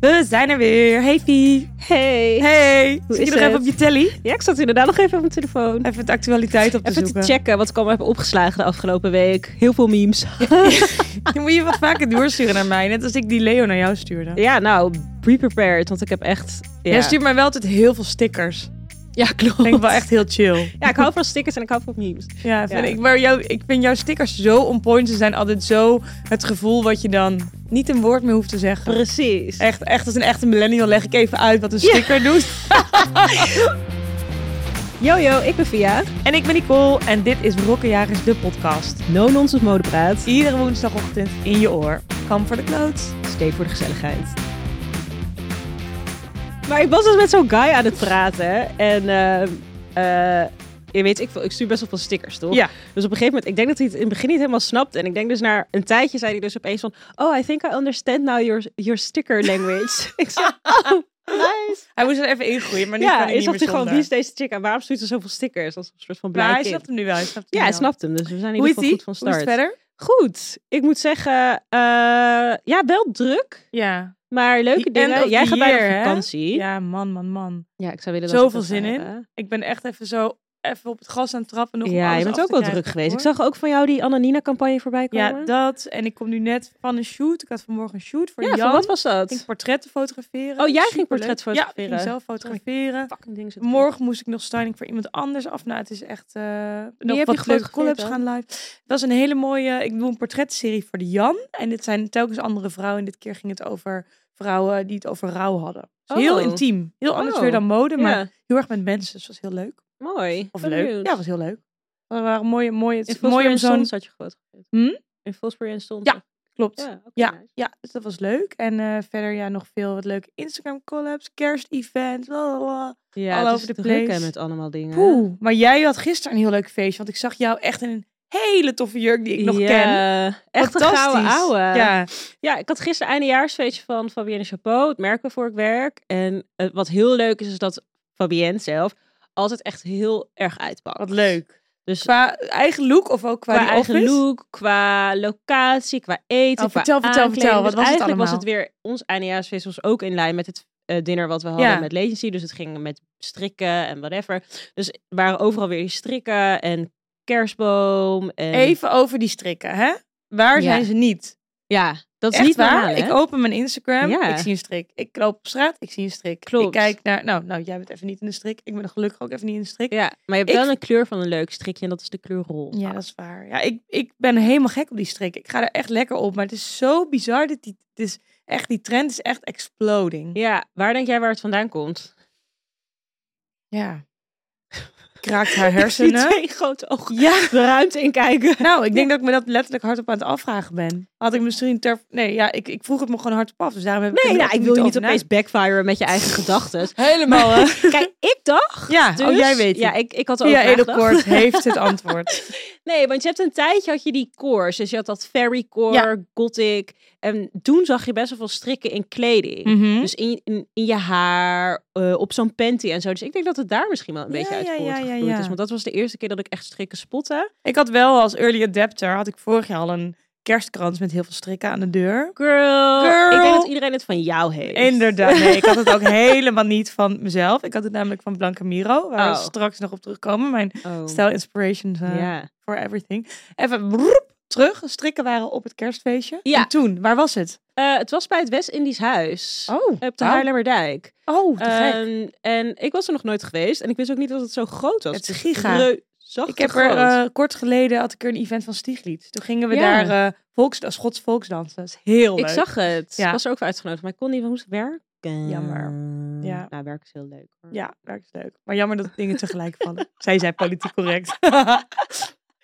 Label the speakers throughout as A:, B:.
A: We zijn er weer. Hey Fie.
B: Hey.
A: Hey. Zit
B: is
A: je nog
B: het?
A: even op je telly?
B: Ja, ik zat inderdaad nog even op mijn telefoon.
A: Even de actualiteit op te
B: Even
A: zoeken.
B: te checken wat ik allemaal heb opgeslagen de afgelopen week. Heel veel memes.
A: Dan moet je wat vaker doorsturen naar mij. Net als ik die Leo naar jou stuurde.
B: Ja, nou, be prepared, want ik heb echt... Ja,
A: Jij stuurt mij wel altijd heel veel stickers.
B: ja klopt.
A: Vind ik wel echt heel chill.
B: Ja, ik hou van stickers en ik hou van memes.
A: Ja, vind
B: Ja.
A: Ik, maar jou, ik vind jouw stickers zo on point. Ze zijn altijd zo het gevoel wat je dan niet een woord meer hoeft te zeggen.
B: Precies.
A: Echt, echt als een echte millennial leg ik even uit wat een sticker doet.
B: Yo, yo, ik ben Via.
A: En ik ben Nicole en dit is Rokkenjagers, de podcast.
B: No-nonsense modepraat.
A: Iedere woensdagochtend in je oor. Kam voor de kloot.
B: Steek voor de gezelligheid. Maar ik was dus met zo'n guy aan het praten. En eh, eh, je weet, ik, ik stuur best wel veel stickers, toch?
A: Ja.
B: Dus op een gegeven moment, ik denk dat hij het in het begin niet helemaal snapt. En ik denk dus na een tijdje zei hij dus opeens van... Oh, I think I understand now your, your sticker language. ik zei, oh, nice.
A: Hij moest er even ingroeien, maar nu kan
B: Ja,
A: hij
B: ik
A: niet
B: snap
A: meer
B: gewoon,
A: zonder.
B: wie is deze chick en waarom stuurt ze zoveel stickers? Als een soort van
A: Maar
B: blij
A: hij
B: kind.
A: snapt hem nu wel. Hij snapt hem
B: Ja, hij
A: wel.
B: snapt hem dus. We zijn in
A: Hoe
B: ieder
A: is hij?
B: geval goed van
A: Hoe is het
B: start.
A: verder?
B: Goed, ik moet zeggen, eh, ja, wel druk,
A: Ja.
B: maar leuke
A: The end
B: dingen.
A: of
B: Jij
A: the
B: gaat bijna
A: year, hè?
B: op vakantie.
A: Ja, man, man, man.
B: Ja, ik zou willen dat
A: Zoveel
B: ik dat
A: zin
B: zou
A: in.
B: hebben.
A: Ik ben echt even zo even op het gas aan het trappen. Nog om
B: Ja,
A: alles
B: je bent
A: af
B: ook
A: te
B: wel
A: krijgen,
B: druk geweest. Ik
A: hoor.
B: zag ook van jou die Ananina-campagne voorbij komen.
A: Ja, dat. En ik kom nu net van een shoot. Ik had vanmorgen een shoot voor
B: Ja, van
A: Jan.
B: wat was dat?
A: Ik ging portretten fotograferen.
B: Oh, jij ging
A: Superleuk.
B: portret
A: Ja, ik
B: fotograferen.
A: ging zelf fotograferen.
B: fucking ding zit erin.
A: Morgen moest ik nog styling voor iemand anders af. Nou, het is echt... eh nog
B: heb je
A: wat leuke
B: gefotografeerd
A: collabs gaan live. Dat is een hele mooie... Ik doe een portretserie voor de Jan. En dit zijn telkens andere vrouwen. En dit keer ging het over vrouwen die het over rouw hadden. Dus Heel
B: Oh.
A: intiem. Heel anders
B: Oh.
A: weer dan mode. Maar
B: Ja,
A: heel erg met mensen. Dus dat was heel leuk.
B: mooi.
A: Of
B: Ben
A: leuk.
B: benieuwd.
A: Ja, was heel leuk. Het waren mooie, mooie, het
B: in
A: is mooi om zo'n...
B: had je gefotografeerd.
A: Hm?
B: In Fosbury en Stond.
A: Ja, Klopt.
B: Ja, oké,
A: Ja,
B: nice.
A: ja, dus dat was leuk. En eh, verder ja, nog veel wat leuke Instagram collabs, kerstevents, blablabla.
B: ja
A: all
B: het
A: over
B: is
A: the
B: druk, hè,
A: place.
B: met allemaal dingen.
A: Poeh, maar jij had gisteren een heel leuk feestje, want ik zag jou echt in een hele toffe jurk die ik nog
B: ja,
A: ken.
B: Echt een
A: Fantastisch.
B: gouden ouwe.
A: Ja,
B: Ja, ik had gisteren eindejaarsfeestje van Fabienne Chapeau, het merk waarvoor ik werk. En eh, wat heel leuk is, is dat Fabienne zelf altijd echt heel erg uitpakt.
A: wat leuk.
B: Dus qua,
A: Qua eigen look of ook qua, die
B: eigen
A: office?
B: look, qua locatie, qua eten,
A: Oh,
B: qua
A: vertel, vertel,
B: aankleding.
A: vertel. Wat
B: Dus
A: was het
B: eigenlijk was het
A: allemaal?
B: weer, ons eindejaarsfeest was ook in lijn met het eh, dinner wat we hadden met Latency. Dus het ging met strikken en whatever. Dus er waren overal weer die strikken en kerstboom. En...
A: Even over die strikken, hè? Waar
B: Ja.
A: zijn ze niet?
B: Ja, dat is
A: Echt
B: niet
A: waar?
B: normaal, hè?
A: ik open mijn Instagram,
B: Ja.
A: ik zie een strik. Ik loop op straat, ik zie een strik. Ik
B: Klopt.
A: kijk naar, nou, nou, jij bent even niet in de strik. Ik ben er gelukkig ook even niet in de strik.
B: Ja, maar je hebt
A: Ik-
B: wel een kleur van een leuk strikje en dat is de kleur rol.
A: Ja, dat is waar. Ja, ik, ik ben helemaal gek op die strikken. Ik ga er echt lekker op. Maar het is zo bizar. Dat die, het is echt, die trend is echt exploding.
B: Ja, waar denk jij waar het vandaan komt?
A: Ja. Kraakt haar
B: Die
A: hersenen.
B: twee grote ogen
A: Ja.
B: de ruimte in kijken.
A: Nou, ik denk dat ik me dat letterlijk hardop aan het afvragen ben. Had ik misschien ter... Nee, ja, ik, ik vroeg het me gewoon hardop af. Dus daarom heb ik
B: Nee,
A: er
B: nou,
A: ook
B: ik wil je niet
A: over
B: opeens backfiren met je eigen gedachten.
A: na- Helemaal, hè?
B: Kijk, ik dacht.
A: Ja,
B: dus-
A: oh, jij weet
B: eh, Ja,
A: het.
B: ik, ik had er ook
A: Via
B: aan gedacht.
A: Edelkoort heeft het antwoord.
B: Nee, want je hebt een tijdje had je die cores. Dus je had dat fairy core, gothic. En toen zag je best wel veel strikken in kleding.
A: Mhm.
B: Dus in, in, in je haar, eh, op zo'n panty en zo. Dus ik denk dat het daar misschien wel een
A: Ja,
B: beetje uit
A: ja, ja, ja,
B: voortgevloeid
A: ja.
B: is. Want dat was de eerste keer dat ik echt strikken spotte.
A: Ik had wel als early adapter, had ik vorig jaar al een kerstkrans met heel veel strikken aan de deur.
B: Girl. Ik
A: Girl.
B: denk dat iedereen het van jou heeft.
A: Inderdaad. Nee, ik had het ook helemaal niet van mezelf. Ik had het namelijk van Blanca Miro, waar we
B: Oh.
A: straks nog op terugkomen. Mijn
B: Oh.
A: stijl inspirations eh,
B: Ja.
A: for everything. Even broep, terug. Strikken waren op het kerstfeestje.
B: Ja.
A: En toen, waar was het?
B: Eh, het was bij het West-Indisch Huis.
A: Oh,
B: Op de Haarlemmerdijk.
A: Oh, te gek.
B: Ehm, en ik was er nog nooit geweest. En ik wist ook niet dat het zo groot was.
A: Het is
B: is
A: giga.
B: reusachtig
A: Ik heb er
B: groot.
A: eh, kort geleden had ik er een event van Stieglied. Toen gingen we
B: Ja.
A: daar eh, volks, eh, Schots volksdansen. Dat is heel leuk.
B: ik zag het.
A: Ja.
B: Ik was er ook voor uitgenodigd. Maar ik kon niet, want ik moest werken.
A: Jammer. Ja.
B: Nou, werk is heel leuk. hoor.
A: Ja, dat is leuk. Maar jammer dat dingen tegelijk vallen. Zij zei politiek correct.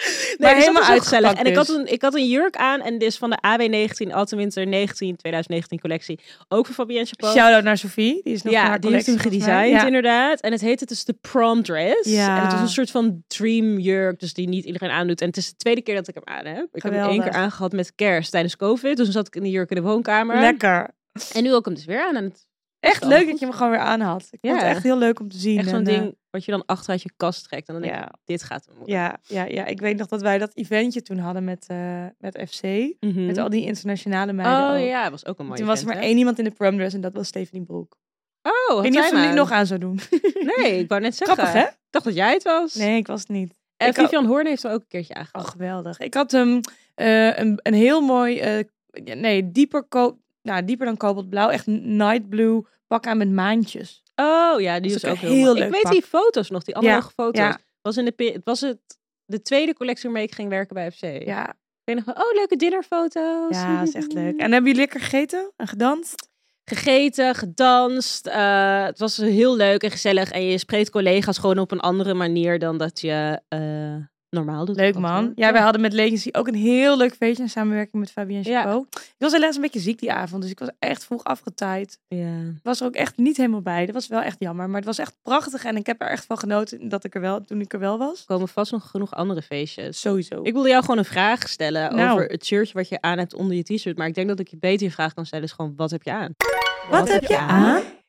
B: Nee,
A: Maar
B: dus dat
A: helemaal
B: was heel gezellig.
A: uitgepakt
B: En ik had,
A: dus.
B: een, ik had een jurk aan. En dit is van de AB19 Altenwinter 19 2019 collectie. Ook van Fabienne Chapeau.
A: Shout-out naar Sophie. Die is nog van
B: Ja,
A: haar
B: die heeft hem
A: collectie, volgens mij.
B: gedesigned
A: Ja.
B: inderdaad. En het heette dus de prom dress.
A: Ja.
B: En het was een soort van dream jurk, dus die niet iedereen aandoet. En het is de tweede keer dat ik hem aan heb. Ik heb hem één
A: Geweldig.
B: keer aangehad met kerst tijdens COVID. Dus toen zat ik in die jurk in de woonkamer.
A: Lekker.
B: En nu ook hem dus weer aan. En het
A: Echt
B: wel
A: leuk
B: goed.
A: dat je hem gewoon weer aan had. Ik vond
B: Ja.
A: het echt heel leuk om te zien.
B: Echt zo'n
A: en, eh,
B: ding wat je dan achter uit je kast trekt. En dan denk je,
A: ja,
B: dit gaat hem worden.
A: ja, ja, ja, ik weet nog dat wij dat eventje toen hadden met, eh, met FC.
B: Mhm.
A: Met al die internationale meiden.
B: Oh
A: ook.
B: ja, was ook een mooie
A: Toen was er
B: vent,
A: maar
B: hè?
A: één iemand in de promdress en dat was Stephanie Broek.
B: Oh,
A: ik weet niet of
B: had
A: ze hem
B: jij
A: nu
B: maar.
A: nog aan zou doen.
B: Nee, ik wou net zeggen.
A: Grappig, hè?
B: Ik dacht dat jij het was.
A: Nee, ik was het niet.
B: En
A: Ik
B: Vivian Hoorn heeft er ook een keertje aangehad.
A: Oh, geweldig. Ik had hem eh, een, een heel mooi, eh, ja, nee, dieper, ko- nou, dieper dan kobaltblauw, echt night blue pak aan met maantjes.
B: Oh ja, die
A: Dat is
B: was,
A: ook
B: ook
A: een
B: heel,
A: heel
B: mooi.
A: leuk
B: Ik weet
A: pak.
B: die foto's nog, die analoge foto's.
A: ja.
B: Was, in de, pe- was het de tweede collectie waarmee ik ging werken bij FC. Ik
A: Ja,
B: weet nog wel, oh leuke dinnerfoto's.
A: ja, dat is echt leuk. En hebben jullie lekker gegeten en gedanst?
B: Gegeten, gedanst. eh, het was heel leuk en gezellig. En je spreekt collega's gewoon op een andere manier dan dat je eh, normaal doet. op
A: Leuk
B: kantoor.
A: man. Ja, wij hadden met Legacy ook een heel leuk feestje in samenwerking met Fabien
B: Ja.
A: Chapeau. Ik was helaas een beetje ziek die avond, dus ik was echt vroeg afgetaaid.
B: Ja.
A: was er ook echt niet helemaal bij. Dat was wel echt jammer. Maar het was echt prachtig. En ik heb er echt van genoten dat ik er wel, toen ik er wel was.
B: Er komen vast nog genoeg andere feestjes.
A: Sowieso.
B: Ik wilde jou gewoon een vraag stellen
A: Nou.
B: over het shirtje wat je aan hebt onder je t-shirt. Maar ik denk dat ik je beter je vraag kan stellen is gewoon, wat heb je aan?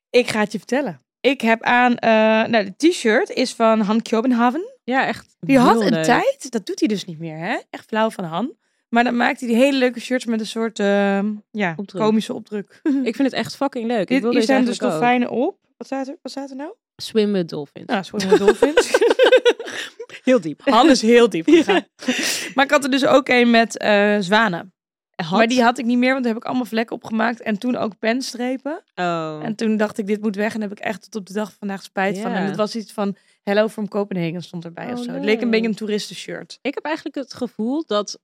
A: Ik ga het je vertellen. Ik heb aan, eh, nou de t-shirt is van Han Kjobenhaven.
B: Ja, echt.
A: Die
B: heel
A: had een
B: leuk.
A: tijd, dat doet hij dus niet meer hè. Echt flauw van Han. Maar dan maakte hij die hele leuke shirts met een soort eh, ja,
B: Opdruk.
A: komische opdruk.
B: Ik vind het echt fucking leuk. ik
A: Dit,
B: wil
A: hier
B: deze
A: zijn dus
B: eigenlijk ook.
A: dolfijnen op. Wat staat er, wat staat er nou?
B: Swimmen dolphins.
A: Nou, Swimming Dolphins.
B: Heel diep.
A: Han is heel diep gegaan. Maar ik had er dus ook een met eh, zwanen. Maar die had ik niet meer, want daar heb ik allemaal vlekken opgemaakt. En toen ook penstrepen.
B: Oh.
A: En toen dacht ik, dit moet weg. En daar heb ik echt tot op de dag van vandaag spijt van.
B: Ja.
A: En het was iets van Hello from Copenhagen stond erbij
B: Oh,
A: of zo. Het
B: leuk.
A: leek een beetje een toeristenshirt.
B: Ik heb eigenlijk het gevoel dat,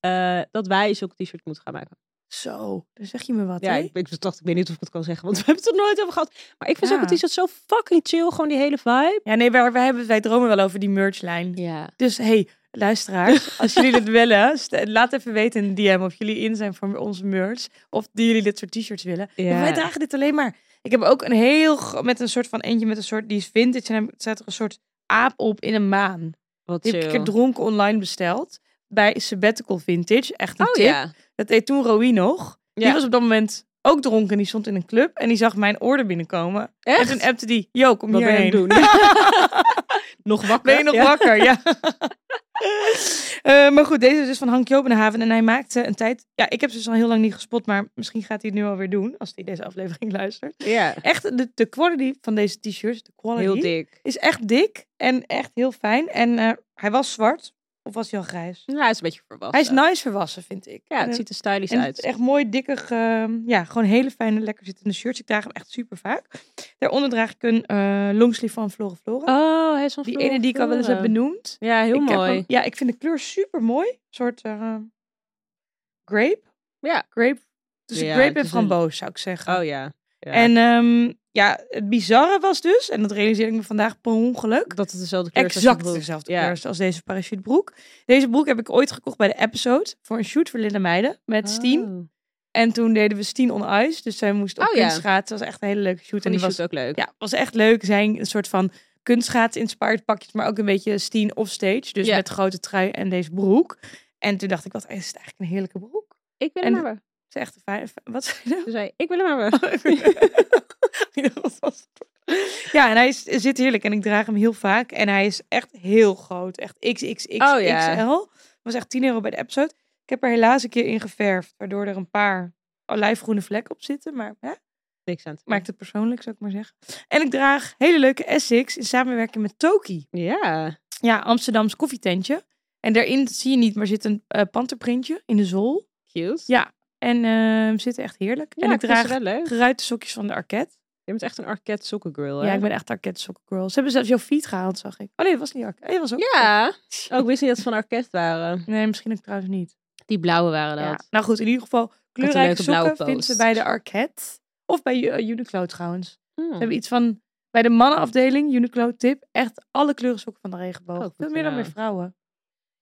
B: eh, dat wij zulke t-shirt moeten gaan maken.
A: Zo, dan zeg je me wat,
B: Ja,
A: hè?
B: ik, ik dacht, ik weet niet of ik het kan zeggen, want we hebben het er nooit over gehad. Maar ik vind
A: Ja.
B: zulke t-shirt zo fucking chill, gewoon die hele vibe.
A: Ja, nee, wij, wij, hebben, wij dromen wel over die merchlijn.
B: Ja.
A: Dus, hey, luisteraars, als jullie dit willen, st- laat even weten in de DM of jullie in zijn voor onze merch. Of die jullie dit soort t-shirts willen.
B: Ja.
A: Maar Wij dragen dit alleen maar. Ik heb ook een heel, gro- met een soort van eentje met een soort, die is vintage. En er staat er een soort aap op in een maan.
B: Wat
A: Die
B: chill.
A: heb ik een keer dronken online besteld. Bij Sabbatical Vintage. Echt een
B: oh
A: tip.
B: ja.
A: Dat deed toen Rowie nog. Die
B: Ja.
A: was op dat moment ook dronken. en Die stond in een club. En die zag mijn order binnenkomen.
B: Echt?
A: En toen appte die. Yo, kom
B: Wat ben je aan
A: hierheen.
B: het doen? nog wakker?
A: Ben je nog
B: Ja.
A: wakker? Ja. Eh, maar goed, deze is dus van Hank Jopenhaven. En hij maakte een tijd... Ja, ik heb ze dus al heel lang niet gespot. Maar misschien gaat hij het nu alweer doen. Als hij deze aflevering luistert.
B: Ja.
A: Echt, de, de quality van deze t-shirts. De quality.
B: Heel dik.
A: Is echt dik. En echt heel fijn. En eh, hij was zwart. Of was hij al grijs?
B: Nou, hij is een beetje verwassen.
A: Hij is nice verwassen, vind ik.
B: Ja,
A: En,
B: het ziet er stylish
A: en
B: uit.
A: Echt mooi, dikkig, ehm, ja, gewoon hele fijne, lekker zittende shirts. Ik draag hem echt super vaak. Daaronder draag ik een eh longsleeve van Flore Flora.
B: Oh, hij is van
A: die
B: Flora
A: ene die ik al wel eens heb
B: Flora.
A: benoemd.
B: Ja, heel
A: Ik heb
B: mooi.
A: hem- ja, ik vind de kleur super mooi. Een soort eh, grape.
B: Ja.
A: Grape. Tussen
B: Ja, het
A: grape en
B: is een-
A: framboos, zou ik zeggen.
B: Oh ja. Ja.
A: En ehm, ja, het bizarre was dus, en dat realiseer ik me vandaag per ongeluk,
B: dat het dezelfde kleur is als je
A: exact
B: broek.
A: dezelfde
B: Ja.
A: kleur als deze parachutebroek. Deze broek heb ik ooit gekocht bij de episode voor een shoot voor Linda Meijden met Steen.
B: Oh.
A: En toen deden we Steen on Ice, dus zij moest op
B: Oh, ja.
A: kunstschaats. Het was echt een hele leuke shoot.
B: En
A: en
B: die
A: die was,
B: was ook leuk.
A: ja, was echt leuk. Zijn een soort van kunstschaats-inspired pakjes, maar ook een beetje Steen offstage. Dus
B: Ja.
A: met grote trui en deze broek. En toen dacht ik, wat is het eigenlijk een heerlijke broek?
B: Ik wil
A: En- Oh,
B: hem hebben.
A: Het is echt een fijn... Wat zei je nou?
B: Toen zei ik, ik wil hem hebben.
A: Ja, wat was het? Ja, en hij is, zit heerlijk en ik draag hem heel vaak. En hij is echt heel groot. Echt XXXXL.
B: Oh, ja.
A: was echt 10 euro bij de episode. Ik heb er helaas een keer in geverfd, waardoor er een paar olijfgroene vlekken op zitten. Maar hè,
B: Niks aan te
A: maakt het persoonlijk, zou ik maar zeggen. En ik draag hele leuke Essex in samenwerking met Toki.
B: doen. Ja.
A: Ja, Amsterdams koffietentje. En daarin, dat zie je niet, maar zit een eh, panterprintje in de zool.
B: Cute.
A: Ja. En eh zit echt heerlijk. en ik draag
B: wel leuk.
A: geruite sokjes van de Arket.
B: Je bent echt een Arquette sokkengirl, hè?
A: Ja, ik ben echt Arquette Sokken Girl. Ze hebben zelfs jouw feet gehaald, zag ik. Oh nee, dat was niet Arquette. Nee, dat was ook
B: Ja. Oh, ik wist niet dat ze van Arquette waren.
A: Nee, misschien ook trouwens niet.
B: Die blauwe waren
A: Ja. Nou goed, in ieder geval
B: leuke
A: kleurrijke
B: blauwe
A: sokken vindt ze
B: post.
A: bij de Arquette. Of bij eh, Uniqlo trouwens. Ze
B: Hmm.
A: hebben iets van, bij de mannenafdeling, Uniqlo tip, echt alle kleuren sokken van de regenboog.
B: Oh, goed
A: Veel meer dan
B: gedaan.
A: bij vrouwen.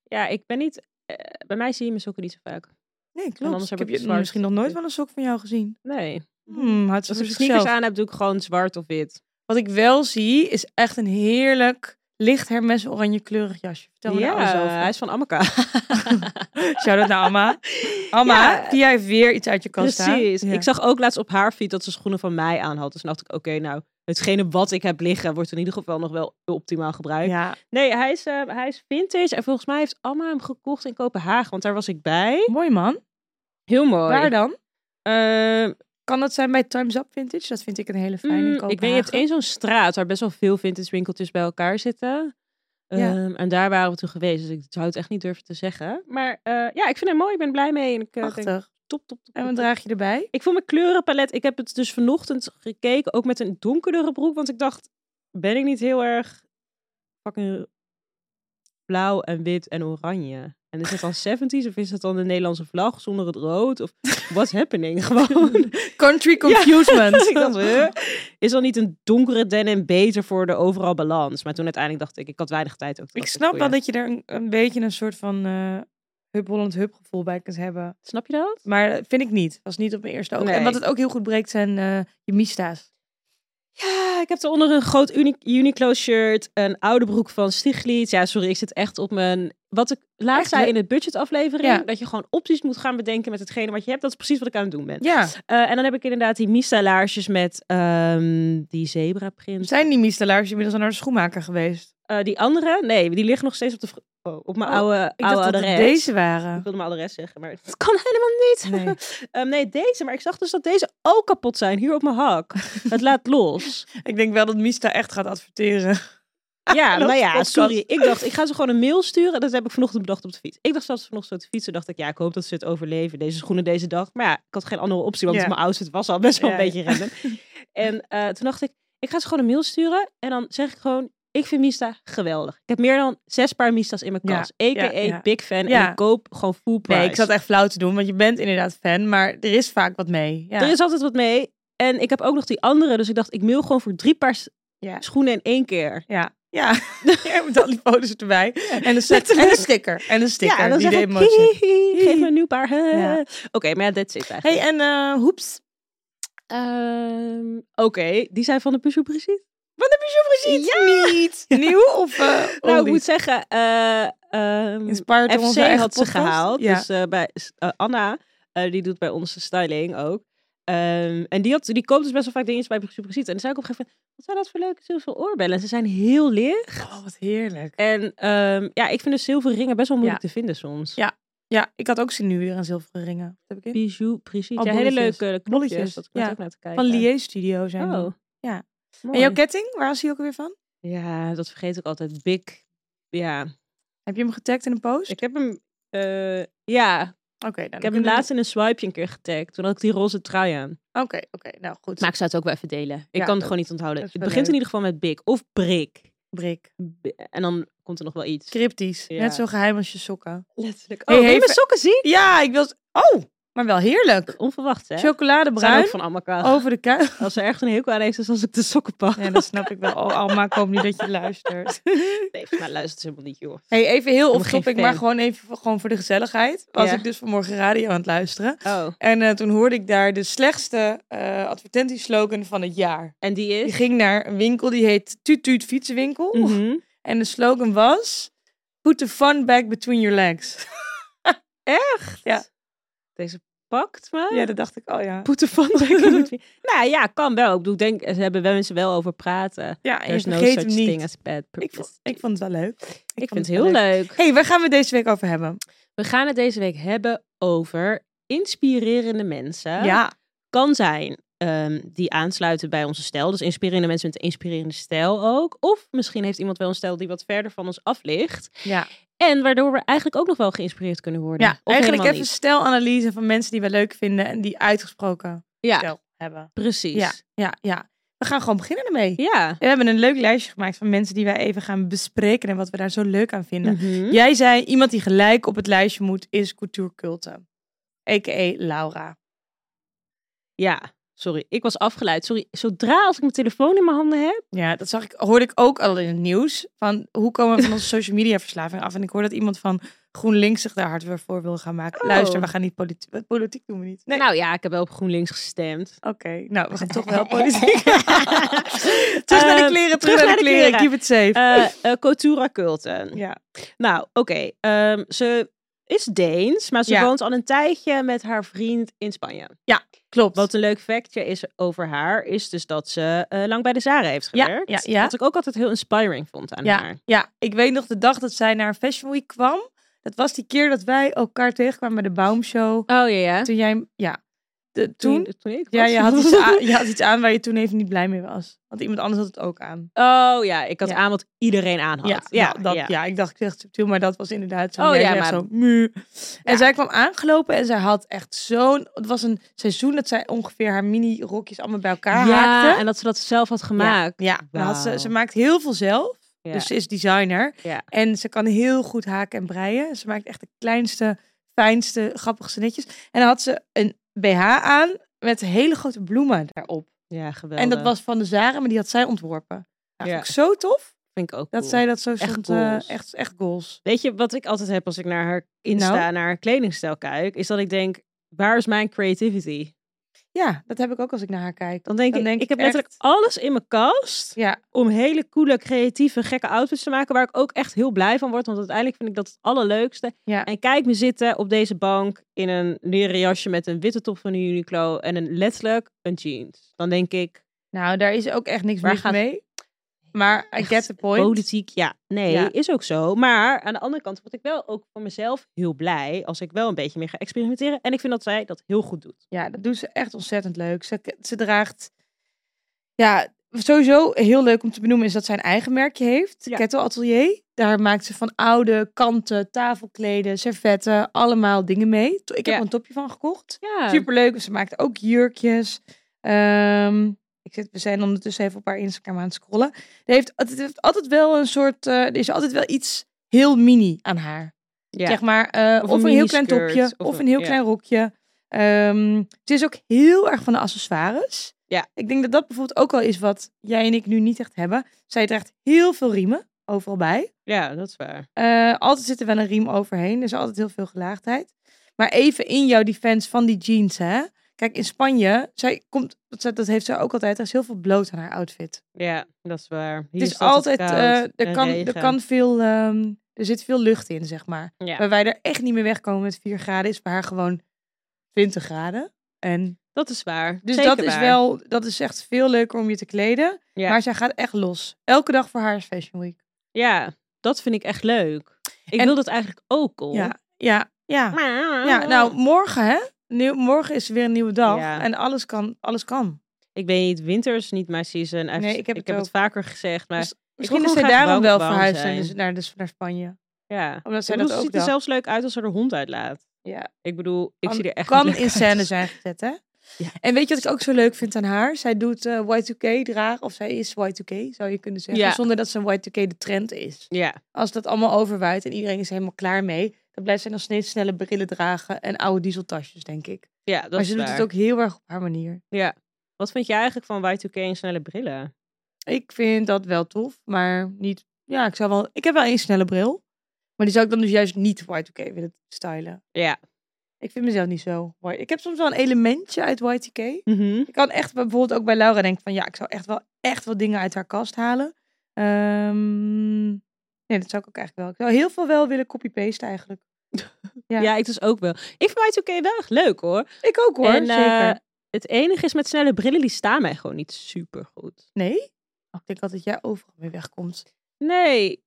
B: Ja, ik ben niet... eh, bij mij zie je mijn sokken niet zo vaak.
A: Nee,
B: En
A: klopt.
B: anders
A: Ik
B: heb
A: heb
B: ik
A: je
B: zwart.
A: misschien nog nooit wel een sok van jou gezien.
B: Nee.
A: Hmm, houdt ze
B: Als
A: voor
B: ik sneakers
A: zichzelf.
B: aan heb, doe ik gewoon zwart of wit.
A: Wat ik wel zie, is echt een heerlijk licht Hermes oranje kleurig jasje. Vertel me daar alles
B: ja, hij
A: over.
B: is van Amaka.
A: Shout-out naar Alma. Alma,
B: Ja.
A: nou, die heeft weer iets uit je kast haalt.
B: Precies.
A: Ja.
B: Ik zag ook laatst op haar feed dat ze schoenen van mij aan had. Dus toen dacht ik, oké, nou, hetgene wat ik heb liggen wordt in ieder geval nog wel optimaal gebruikt.
A: Ja.
B: Nee, hij is, eh, hij is vintage en volgens mij heeft Amma hem gekocht in Kopenhagen, want daar was ik bij.
A: Mooi man.
B: Heel mooi.
A: Waar dan?
B: Ehm,
A: Kan dat zijn bij Time's Up Vintage? Dat vind ik een hele fijne in
B: Mm, ik weet, je hebt
A: Kopenhagen.
B: één zo'n straat waar best wel veel vintage winkeltjes bij elkaar zitten.
A: Ja.
B: Ehm, en daar waren we toen geweest, dus ik zou het echt niet durven te zeggen. Maar eh, ja, ik vind hem mooi, ik ben er blij mee. En ik eh, denk,
A: Prachtig.
B: top, top, top.
A: En
B: top,
A: wat
B: top.
A: draag je erbij?
B: Ik vond mijn kleurenpalet, ik heb het dus vanochtend gekeken, ook met een donkerdere broek. Want ik dacht, ben ik niet heel erg fucking blauw en wit en oranje? En is dat dan 70s of is dat dan de Nederlandse vlag zonder het rood? Of what's happening gewoon? dus
A: Country Confusement.
B: Ik dacht, huh? Is dan niet een donkere denim beter voor de overal balans? Maar toen uiteindelijk dacht ik, ik had weinig tijd ook. Oh
A: ik snap wel dat je er een, een beetje een soort van eh Hup Holland Hup gevoel bij kunt hebben.
B: Snap je dat?
A: Maar eh, vind ik niet. Was niet op mijn eerste oog.
B: Nee.
A: En wat het ook heel goed breekt zijn eh, je mista's.
B: Ja, Ah, ik heb eronder een groot Uni- Uniqlo shirt, een oude broek van Stiglitz. Ja, sorry, ik zit echt op mijn... Wat ik laatst
A: Echt,
B: zei
A: hè?
B: in het budgetaflevering,
A: Ja.
B: dat je gewoon opties moet gaan bedenken met hetgene wat je hebt. Dat is precies wat ik aan het doen ben.
A: Ja.
B: Eh, en dan heb ik inderdaad die Mista laarsjes met ehm, die zebra print.
A: Zijn die mistelaars inmiddels al naar de schoenmaker geweest?
B: Eh, die andere, nee, die liggen nog steeds op, de, vro- oh, op mijn
A: Oh,
B: oude,
A: Ik
B: oude
A: dacht dat het
B: adres.
A: deze
B: Ik
A: waren.
B: wilde mijn adres zeggen, maar dat kan helemaal niet.
A: Nee.
B: Ehm, nee, deze. Maar ik zag dus dat deze ook kapot zijn. Hier op mijn hak. Het laat los.
A: Ik denk wel dat Mista echt gaat adverteren.
B: Ja,
A: Los
B: nou ja,
A: podcast.
B: sorry. Ik dacht, ik ga ze gewoon een mail sturen. Dat heb ik vanochtend bedacht op de fiets. Ik dacht zelfs vanochtend op de fiets. Toen dacht ik, ja, ik hoop dat ze het overleven. Deze schoenen deze dag. Maar ja, ik had geen andere optie. Want
A: Ja.
B: mijn outfit was al best wel
A: Ja,
B: een
A: ja.
B: beetje random. En eh, toen dacht ik, ik ga ze gewoon een mail sturen. En dan zeg ik gewoon, ik vind Mista geweldig. Ik heb meer dan zes paar Mista's in mijn
A: Ja,
B: kast.
A: ja,
B: A.k.a.
A: ja.
B: big fan. En
A: Ja.
B: ik koop gewoon full price.
A: Nee, ik zat echt flauw te doen, want je bent inderdaad fan, maar er is vaak wat mee. Ja.
B: Er is altijd wat mee. En ik heb ook nog die andere. Dus ik dacht, ik mail gewoon voor drie paar s-
A: Ja.
B: schoenen in één keer.
A: Ja. Ja. ja, met al die foto's erbij. En een, set, en
B: Letterlijk.
A: een sticker. En een sticker.
B: ja, en dan
A: die
B: zeg
A: de
B: ik,
A: emoji.
B: "Hihi, geef me een nieuw paar. hè."
A: Ja.
B: Oké, maar ja, that's it eigenlijk.
A: Hey, en eh hoeps.
B: Ehm, Oké, die zijn van de Peugeot Brigitte.
A: Wat heb je zo gezien? Niet. Nieuw of eh
B: Nou, ik
A: oldies?
B: moet zeggen, eh, ehm,
A: Inspired door
B: FC
A: onze eigen
B: had ze
A: podcast.
B: gehaald.
A: Ja.
B: Dus eh, bij eh, Anna, eh, die doet bij onze styling ook. Ehm, en die, had, die koopt dus best wel vaak dingetjes bij Peugeot Brigitte. En dan zei ik op een gegeven moment, wat zijn dat voor leuke zilveren oorbellen? Ze zijn heel licht.
A: Oh, wat heerlijk.
B: En ehm, ja, ik vind dus zilveren ringen best wel moeilijk te vinden soms.
A: Ja. Ja, ik had ook zin nu weer aan zilveren ringen. Wat heb ik in?
B: Bijou, precies.
A: Oh,
B: ja, hele
A: bolletjes.
B: leuke knopjes.
A: Bolletjes,
B: Dat ik net
A: ja.
B: ook naar te kijken.
A: Van Lié Studio zijn die.
B: Oh.
A: Ja.
B: Mooi.
A: En jouw ketting, waar is die ook weer van?
B: Ja, dat vergeet ik altijd. Big. Ja.
A: Heb je hem getagd in een post?
B: Ik heb hem... eh, ja,
A: Oké, nou, dan
B: ik heb hem
A: kunnen we-
B: laatst in een swipeje een keer getagd. Toen had ik die roze trui aan.
A: Oké, oké. Nou goed.
B: Maar ik zou het ook wel even delen. Ik
A: Ja,
B: kan het gewoon niet onthouden.
A: dat
B: Het
A: is
B: begint
A: wel
B: in
A: leuk.
B: ieder geval met Big. Of Brik.
A: Brik.
B: B- En dan komt er nog wel iets.
A: Cryptisch.
B: Ja.
A: Net zo geheim als je sokken.
B: Letterlijk.
A: Hey,
B: Oh, hey,
A: hey,
B: mijn
A: ver-
B: sokken zien?
A: Ja, ik wil... Oh, maar wel heerlijk.
B: Onverwacht, hè? Zijn ook
A: Chocoladebruin
B: van Amaka.
A: over de kuil.
B: Als er ergens een hekel aan heeft, is als ik de sokken pak.
A: Ja, dat snap ik wel. Oh, Alma, ik hoop niet dat je luistert.
B: Nee, volgens mij luistert ze helemaal niet, joh.
A: Hey, even heel
B: ben
A: off
B: geen
A: topic,
B: fan.
A: maar gewoon even voor- gewoon voor de gezelligheid. Was
B: Ja.
A: ik dus vanmorgen radio aan het luisteren.
B: Oh.
A: En eh, toen hoorde ik daar de slechtste eh advertentieslogan van het jaar.
B: En die
A: Die
B: is?
A: ging naar een winkel die heet Tuut Tuut Fietsenwinkel.
B: Mhm.
A: En de slogan was... Put the fun back between your legs.
B: Echt?
A: Ja.
B: Deze pakt me.
A: Ja, dat dacht ik, oh ja.
B: Poeten van de Nou ja, kan wel. Ik bedoel, ik denk, ze hebben wel mensen wel over praten.
A: Ja, en
B: Er
A: je
B: is no
A: vergeet
B: such
A: hem niet.
B: thing as bad
A: Ik
B: publicity.
A: vond, ik vond het wel leuk. Ik,
B: Ik
A: vond
B: vind het heel leuk.
A: hey, waar gaan we het deze week over hebben?
B: We gaan het deze week hebben over inspirerende mensen.
A: Ja.
B: Kan zijn ehm, die aansluiten bij onze stijl. Dus inspirerende mensen met een inspirerende stijl ook. Of misschien heeft iemand wel een stijl die wat verder van ons af ligt.
A: ja.
B: En waardoor we eigenlijk ook nog wel geïnspireerd kunnen worden.
A: ja
B: Of
A: eigenlijk
B: helemaal
A: even
B: niet.
A: stelanalyse van mensen die we leuk vinden en die uitgesproken
B: Ja,
A: stijl hebben.
B: precies.
A: Ja, ja, ja. We gaan gewoon beginnen ermee.
B: Ja.
A: We hebben een leuk lijstje gemaakt van mensen die wij even gaan bespreken en wat we daar zo leuk aan vinden.
B: Mhm.
A: Jij zei, iemand die gelijk op het lijstje moet is Couture Culte. A.k.a. Laura.
B: Ja, sorry. Ik was afgeleid. Sorry. Zodra als ik mijn telefoon in mijn handen heb.
A: Ja, dat zag ik, hoorde ik ook al in het nieuws. Van hoe komen we van onze social media verslaving af? En ik hoorde dat iemand van GroenLinks zich daar hard weer voor wil gaan maken.
B: Oh.
A: Luister, we gaan niet politiek. Politiek doen we niet. Nee.
B: Nou ja, ik heb wel op GroenLinks gestemd.
A: Oké, nou, we gaan toch wel politiek. terug naar de
B: Ehm,
A: kleren, Eh, terug naar de kleren. Keep it safe.
B: Eh eh, Cultura Kulten.
A: ja.
B: Nou, oké. ehm, ze is Deens, maar ze
A: Ja.
B: woont al een tijdje met haar vriend in Spanje.
A: Klopt.
B: Wat een leuk factje is over haar, is dus dat ze eh, lang bij de Zara heeft
A: Ja,
B: gewerkt.
A: ja, ja.
B: Wat ik ook altijd heel inspiring vond aan haar.
A: Ja, ik weet nog de dag dat zij naar een Fashion Week kwam. Dat was die keer dat wij elkaar tegenkwamen bij de Baumshow.
B: Oh ja, ja.
A: Toen jij, ja, de, toen.
B: Toen, toen ik
A: Ja,
B: was.
A: je had, iets aan, je had iets aan waar je toen even niet blij mee was. Want iemand anders had het ook aan.
B: Oh ja, ik had
A: Ja.
B: aan wat iedereen aan had. Nou,
A: Ja, ja, dat, ja. ik dacht, ik zeg het subtiel, maar dat was inderdaad zo.
B: Oh,
A: jij
B: ja,
A: zegt
B: maar-
A: zo muh. En
B: Ja.
A: zij kwam aangelopen en zij had echt zo'n... Het was een seizoen dat zij ongeveer haar mini-rokjes allemaal bij elkaar
B: Ja,
A: haakte.
B: en dat ze dat zelf had gemaakt.
A: Ja, dan had ze,
B: Wauw.
A: ze maakt heel veel zelf.
B: Ja.
A: Dus ze is designer.
B: Ja.
A: En ze kan heel goed haken en breien. Ze maakt echt de kleinste, fijnste, grappigste netjes. En dan had ze een BH aan met hele grote bloemen daarop.
B: Ja, geweldig.
A: En dat was van de Zara, maar die had zij ontworpen. Nou,
B: Ja.
A: Vond ik zo tof
B: vind ik ook
A: dat
B: cool.
A: zij dat zo
B: Echt
A: stond. eh,
B: goals.
A: echt, echt goals.
B: Weet je wat ik altijd heb als ik naar haar Insta,
A: Nou?
B: naar haar kledingstijl kijk, is dat ik denk, waar is mijn creativity?
A: Ja, dat heb ik ook als ik naar haar kijk.
B: Dan denk
A: Dan
B: ik,
A: denk
B: ik
A: ik
B: heb letterlijk
A: echt-
B: alles in mijn kast
A: Ja,
B: om hele coole, creatieve, gekke outfits te maken, waar ik ook echt heel blij van word, want uiteindelijk vind ik dat het allerleukste.
A: Ja.
B: En kijk me zitten op deze bank in een leren jasje met een witte top van de Uniqlo en een letterlijk een jeans. Dan denk ik,
A: nou, daar is ook echt niks
B: Waar
A: mis
B: gaat-
A: mee. Maar I
B: Echt
A: get the point.
B: Politiek, ja. Nee,
A: Ja.
B: is ook zo. Maar aan de andere kant word ik wel ook voor mezelf heel blij als ik wel een beetje meer ga experimenteren. En ik vind dat zij dat heel goed doet.
A: Ja, dat doet ze echt ontzettend leuk. Ze, ze draagt... Ja, sowieso heel leuk om te benoemen is dat zij een eigen merkje heeft.
B: Ja.
A: Kettle Atelier. Daar maakt ze van oude kanten, tafelkleden, servetten, allemaal dingen mee. To- Ik heb
B: Ja.
A: er een topje van gekocht.
B: Ja.
A: Superleuk. Ze maakt ook jurkjes. Ehm, ik zit, we zijn ondertussen even op haar Instagram aan het scrollen. Er heeft, het heeft altijd wel een soort... eh, er is altijd wel iets heel mini aan haar
B: Ja.
A: zeg maar. eh,
B: Of
A: of,
B: een
A: een heel klein
B: miniskirt,
A: topje,
B: of
A: of,
B: een-
A: een heel
B: ja.
A: klein rokje. Ehm, het is ook heel erg van de accessoires.
B: Ja.
A: Ik denk dat dat bijvoorbeeld ook wel is wat jij en ik nu niet echt hebben. Zij draagt heel veel riemen, overal bij.
B: ja, dat is waar.
A: Eh, altijd zit er wel een riem overheen, dus altijd heel veel gelaagdheid. Maar even in jouw defense van die jeans, hè. Kijk, in Spanje, zij komt, dat, dat heeft zij ook altijd, er is heel veel bloot aan haar outfit.
B: Ja, dat is waar. Hier
A: Het is altijd,
B: koud
A: eh, er,
B: en
A: kan, er,
B: regen.
A: kan veel, ehm, er zit veel lucht in, zeg maar.
B: Ja.
A: Waar wij er echt niet meer wegkomen met 4 graden, is bij haar gewoon 20 graden. En,
B: Dat is waar.
A: dus
B: Zeker
A: dat is
B: waar.
A: wel, dat is echt veel leuker om je te kleden.
B: Ja.
A: Maar zij gaat echt los. Elke dag voor haar is Fashion Week.
B: Ja, dat vind ik echt leuk. Ik
A: En-
B: wil dat eigenlijk ook, al.
A: Ja, ja, ja. Ja, nou, morgen hè. Nieuw, morgen is weer een nieuwe dag.
B: Ah. Ja.
A: En alles kan, alles kan.
B: Ik weet niet, winter is niet mijn season. I've-
A: Nee, ik heb het ook.
B: vaker gezegd, maar
A: Dus
B: ik wil
A: Misschien is
B: gewoon
A: zij
B: graag
A: daarom wel
B: warm
A: verhuisd
B: zijn.
A: naar, naar, dus naar Spanje.
B: ja.
A: Omdat zij
B: Ik bedoel,
A: dat
B: ze
A: ook
B: ziet er
A: dacht.
B: zelfs leuk uit als ze er hond uitlaat.
A: Ja.
B: Ik bedoel, ik
A: Kan-
B: zie er echt niet
A: kan
B: leuk
A: in scène
B: uit.
A: zijn gezet, hè?
B: Ja.
A: En weet je wat ik ook zo leuk vind aan haar? Zij doet eh, Y2K dragen, of zij is Y2K, zou je kunnen zeggen.
B: Ja.
A: Zonder dat ze een Y2K de trend is.
B: Ja,
A: Als dat allemaal overwaait en iedereen is helemaal klaar mee, dan blijft zij nog steeds snelle brillen dragen en oude dieseltasjes, denk ik.
B: ja, dat
A: maar
B: is
A: ze doet
B: waar.
A: het ook heel erg op haar manier.
B: Ja. Wat vind jij eigenlijk van Y2K en snelle brillen?
A: Ik vind dat wel tof, maar niet... Ja, ik zou wel... Ik heb wel één snelle bril, maar die zou ik dan dus juist niet Y2K willen stylen.
B: Ja.
A: Ik vind mezelf niet zo. Ik heb soms wel een elementje uit Y2K.
B: Mhm.
A: Ik kan echt bijvoorbeeld ook bij Laura denken van ja, ik zou echt wel echt wat dingen uit haar kast halen. Ehm, nee, dat zou ik ook eigenlijk wel. Ik zou heel veel wel willen copy-pasten eigenlijk.
B: Ja.
A: Ja.
B: ik dus ook wel. Ik vind Y2K wel echt leuk hoor.
A: Ik ook hoor,
B: en eh,
A: zeker.
B: het enige is met snelle brillen, die staan mij gewoon niet super goed.
A: Nee? Oh, ik denk altijd dat jij overal mee wegkomt.
B: Nee.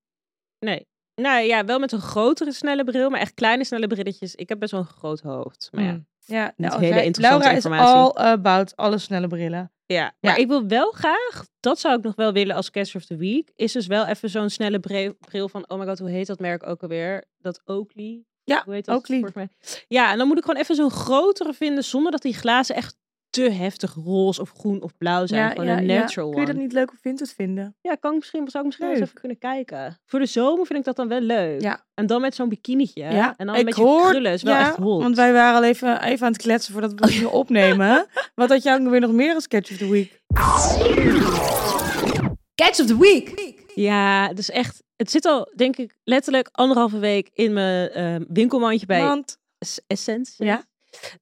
B: Nee. Nou ja, wel met een grotere snelle bril, maar echt kleine snelle brilletjes. Ik heb best wel een groot hoofd. Maar ja.
A: Hmm. Ja,
B: Niet
A: nou,
B: hele
A: zij-
B: interessante
A: Laura is
B: informatie.
A: all about alle snelle brillen.
B: Ja,
A: Ja.
B: maar ik wil wel graag, dat zou ik nog wel willen als Catch of the Week, is dus wel even zo'n snelle bre- bril van, oh my god, hoe heet dat merk ook alweer? Dat Oakley?
A: Ja,
B: hoe heet dat?
A: Oakley.
B: Volgens mij. Ja, en dan moet ik gewoon even zo'n grotere vinden, zonder dat die glazen echt te heftig roze of groen of blauw zijn. gewoon een natural
A: Kun je dat
B: one.
A: niet leuk op Vinted vinden?
B: Ja, kan ik misschien, zou ik misschien wel eens
A: Leuk.
B: even kunnen kijken. Voor de zomer vind ik dat dan wel leuk.
A: Ja.
B: En dan met zo'n bikinietje.
A: Ja,
B: En dan
A: ik
B: met je
A: hoor-
B: krullen is wel
A: ja,
B: echt hot. Oh,
A: Want wij waren al even, even aan het kletsen voordat we het gingen opnemen. Wat had jij ook weer nog meer als Catch of the Week?
C: Catch of the week.
B: Ja, dus echt. Het zit al, denk ik, letterlijk anderhalve week in mijn ehm, winkelmandje bij
A: Want,
B: Es- Essence.
A: ja?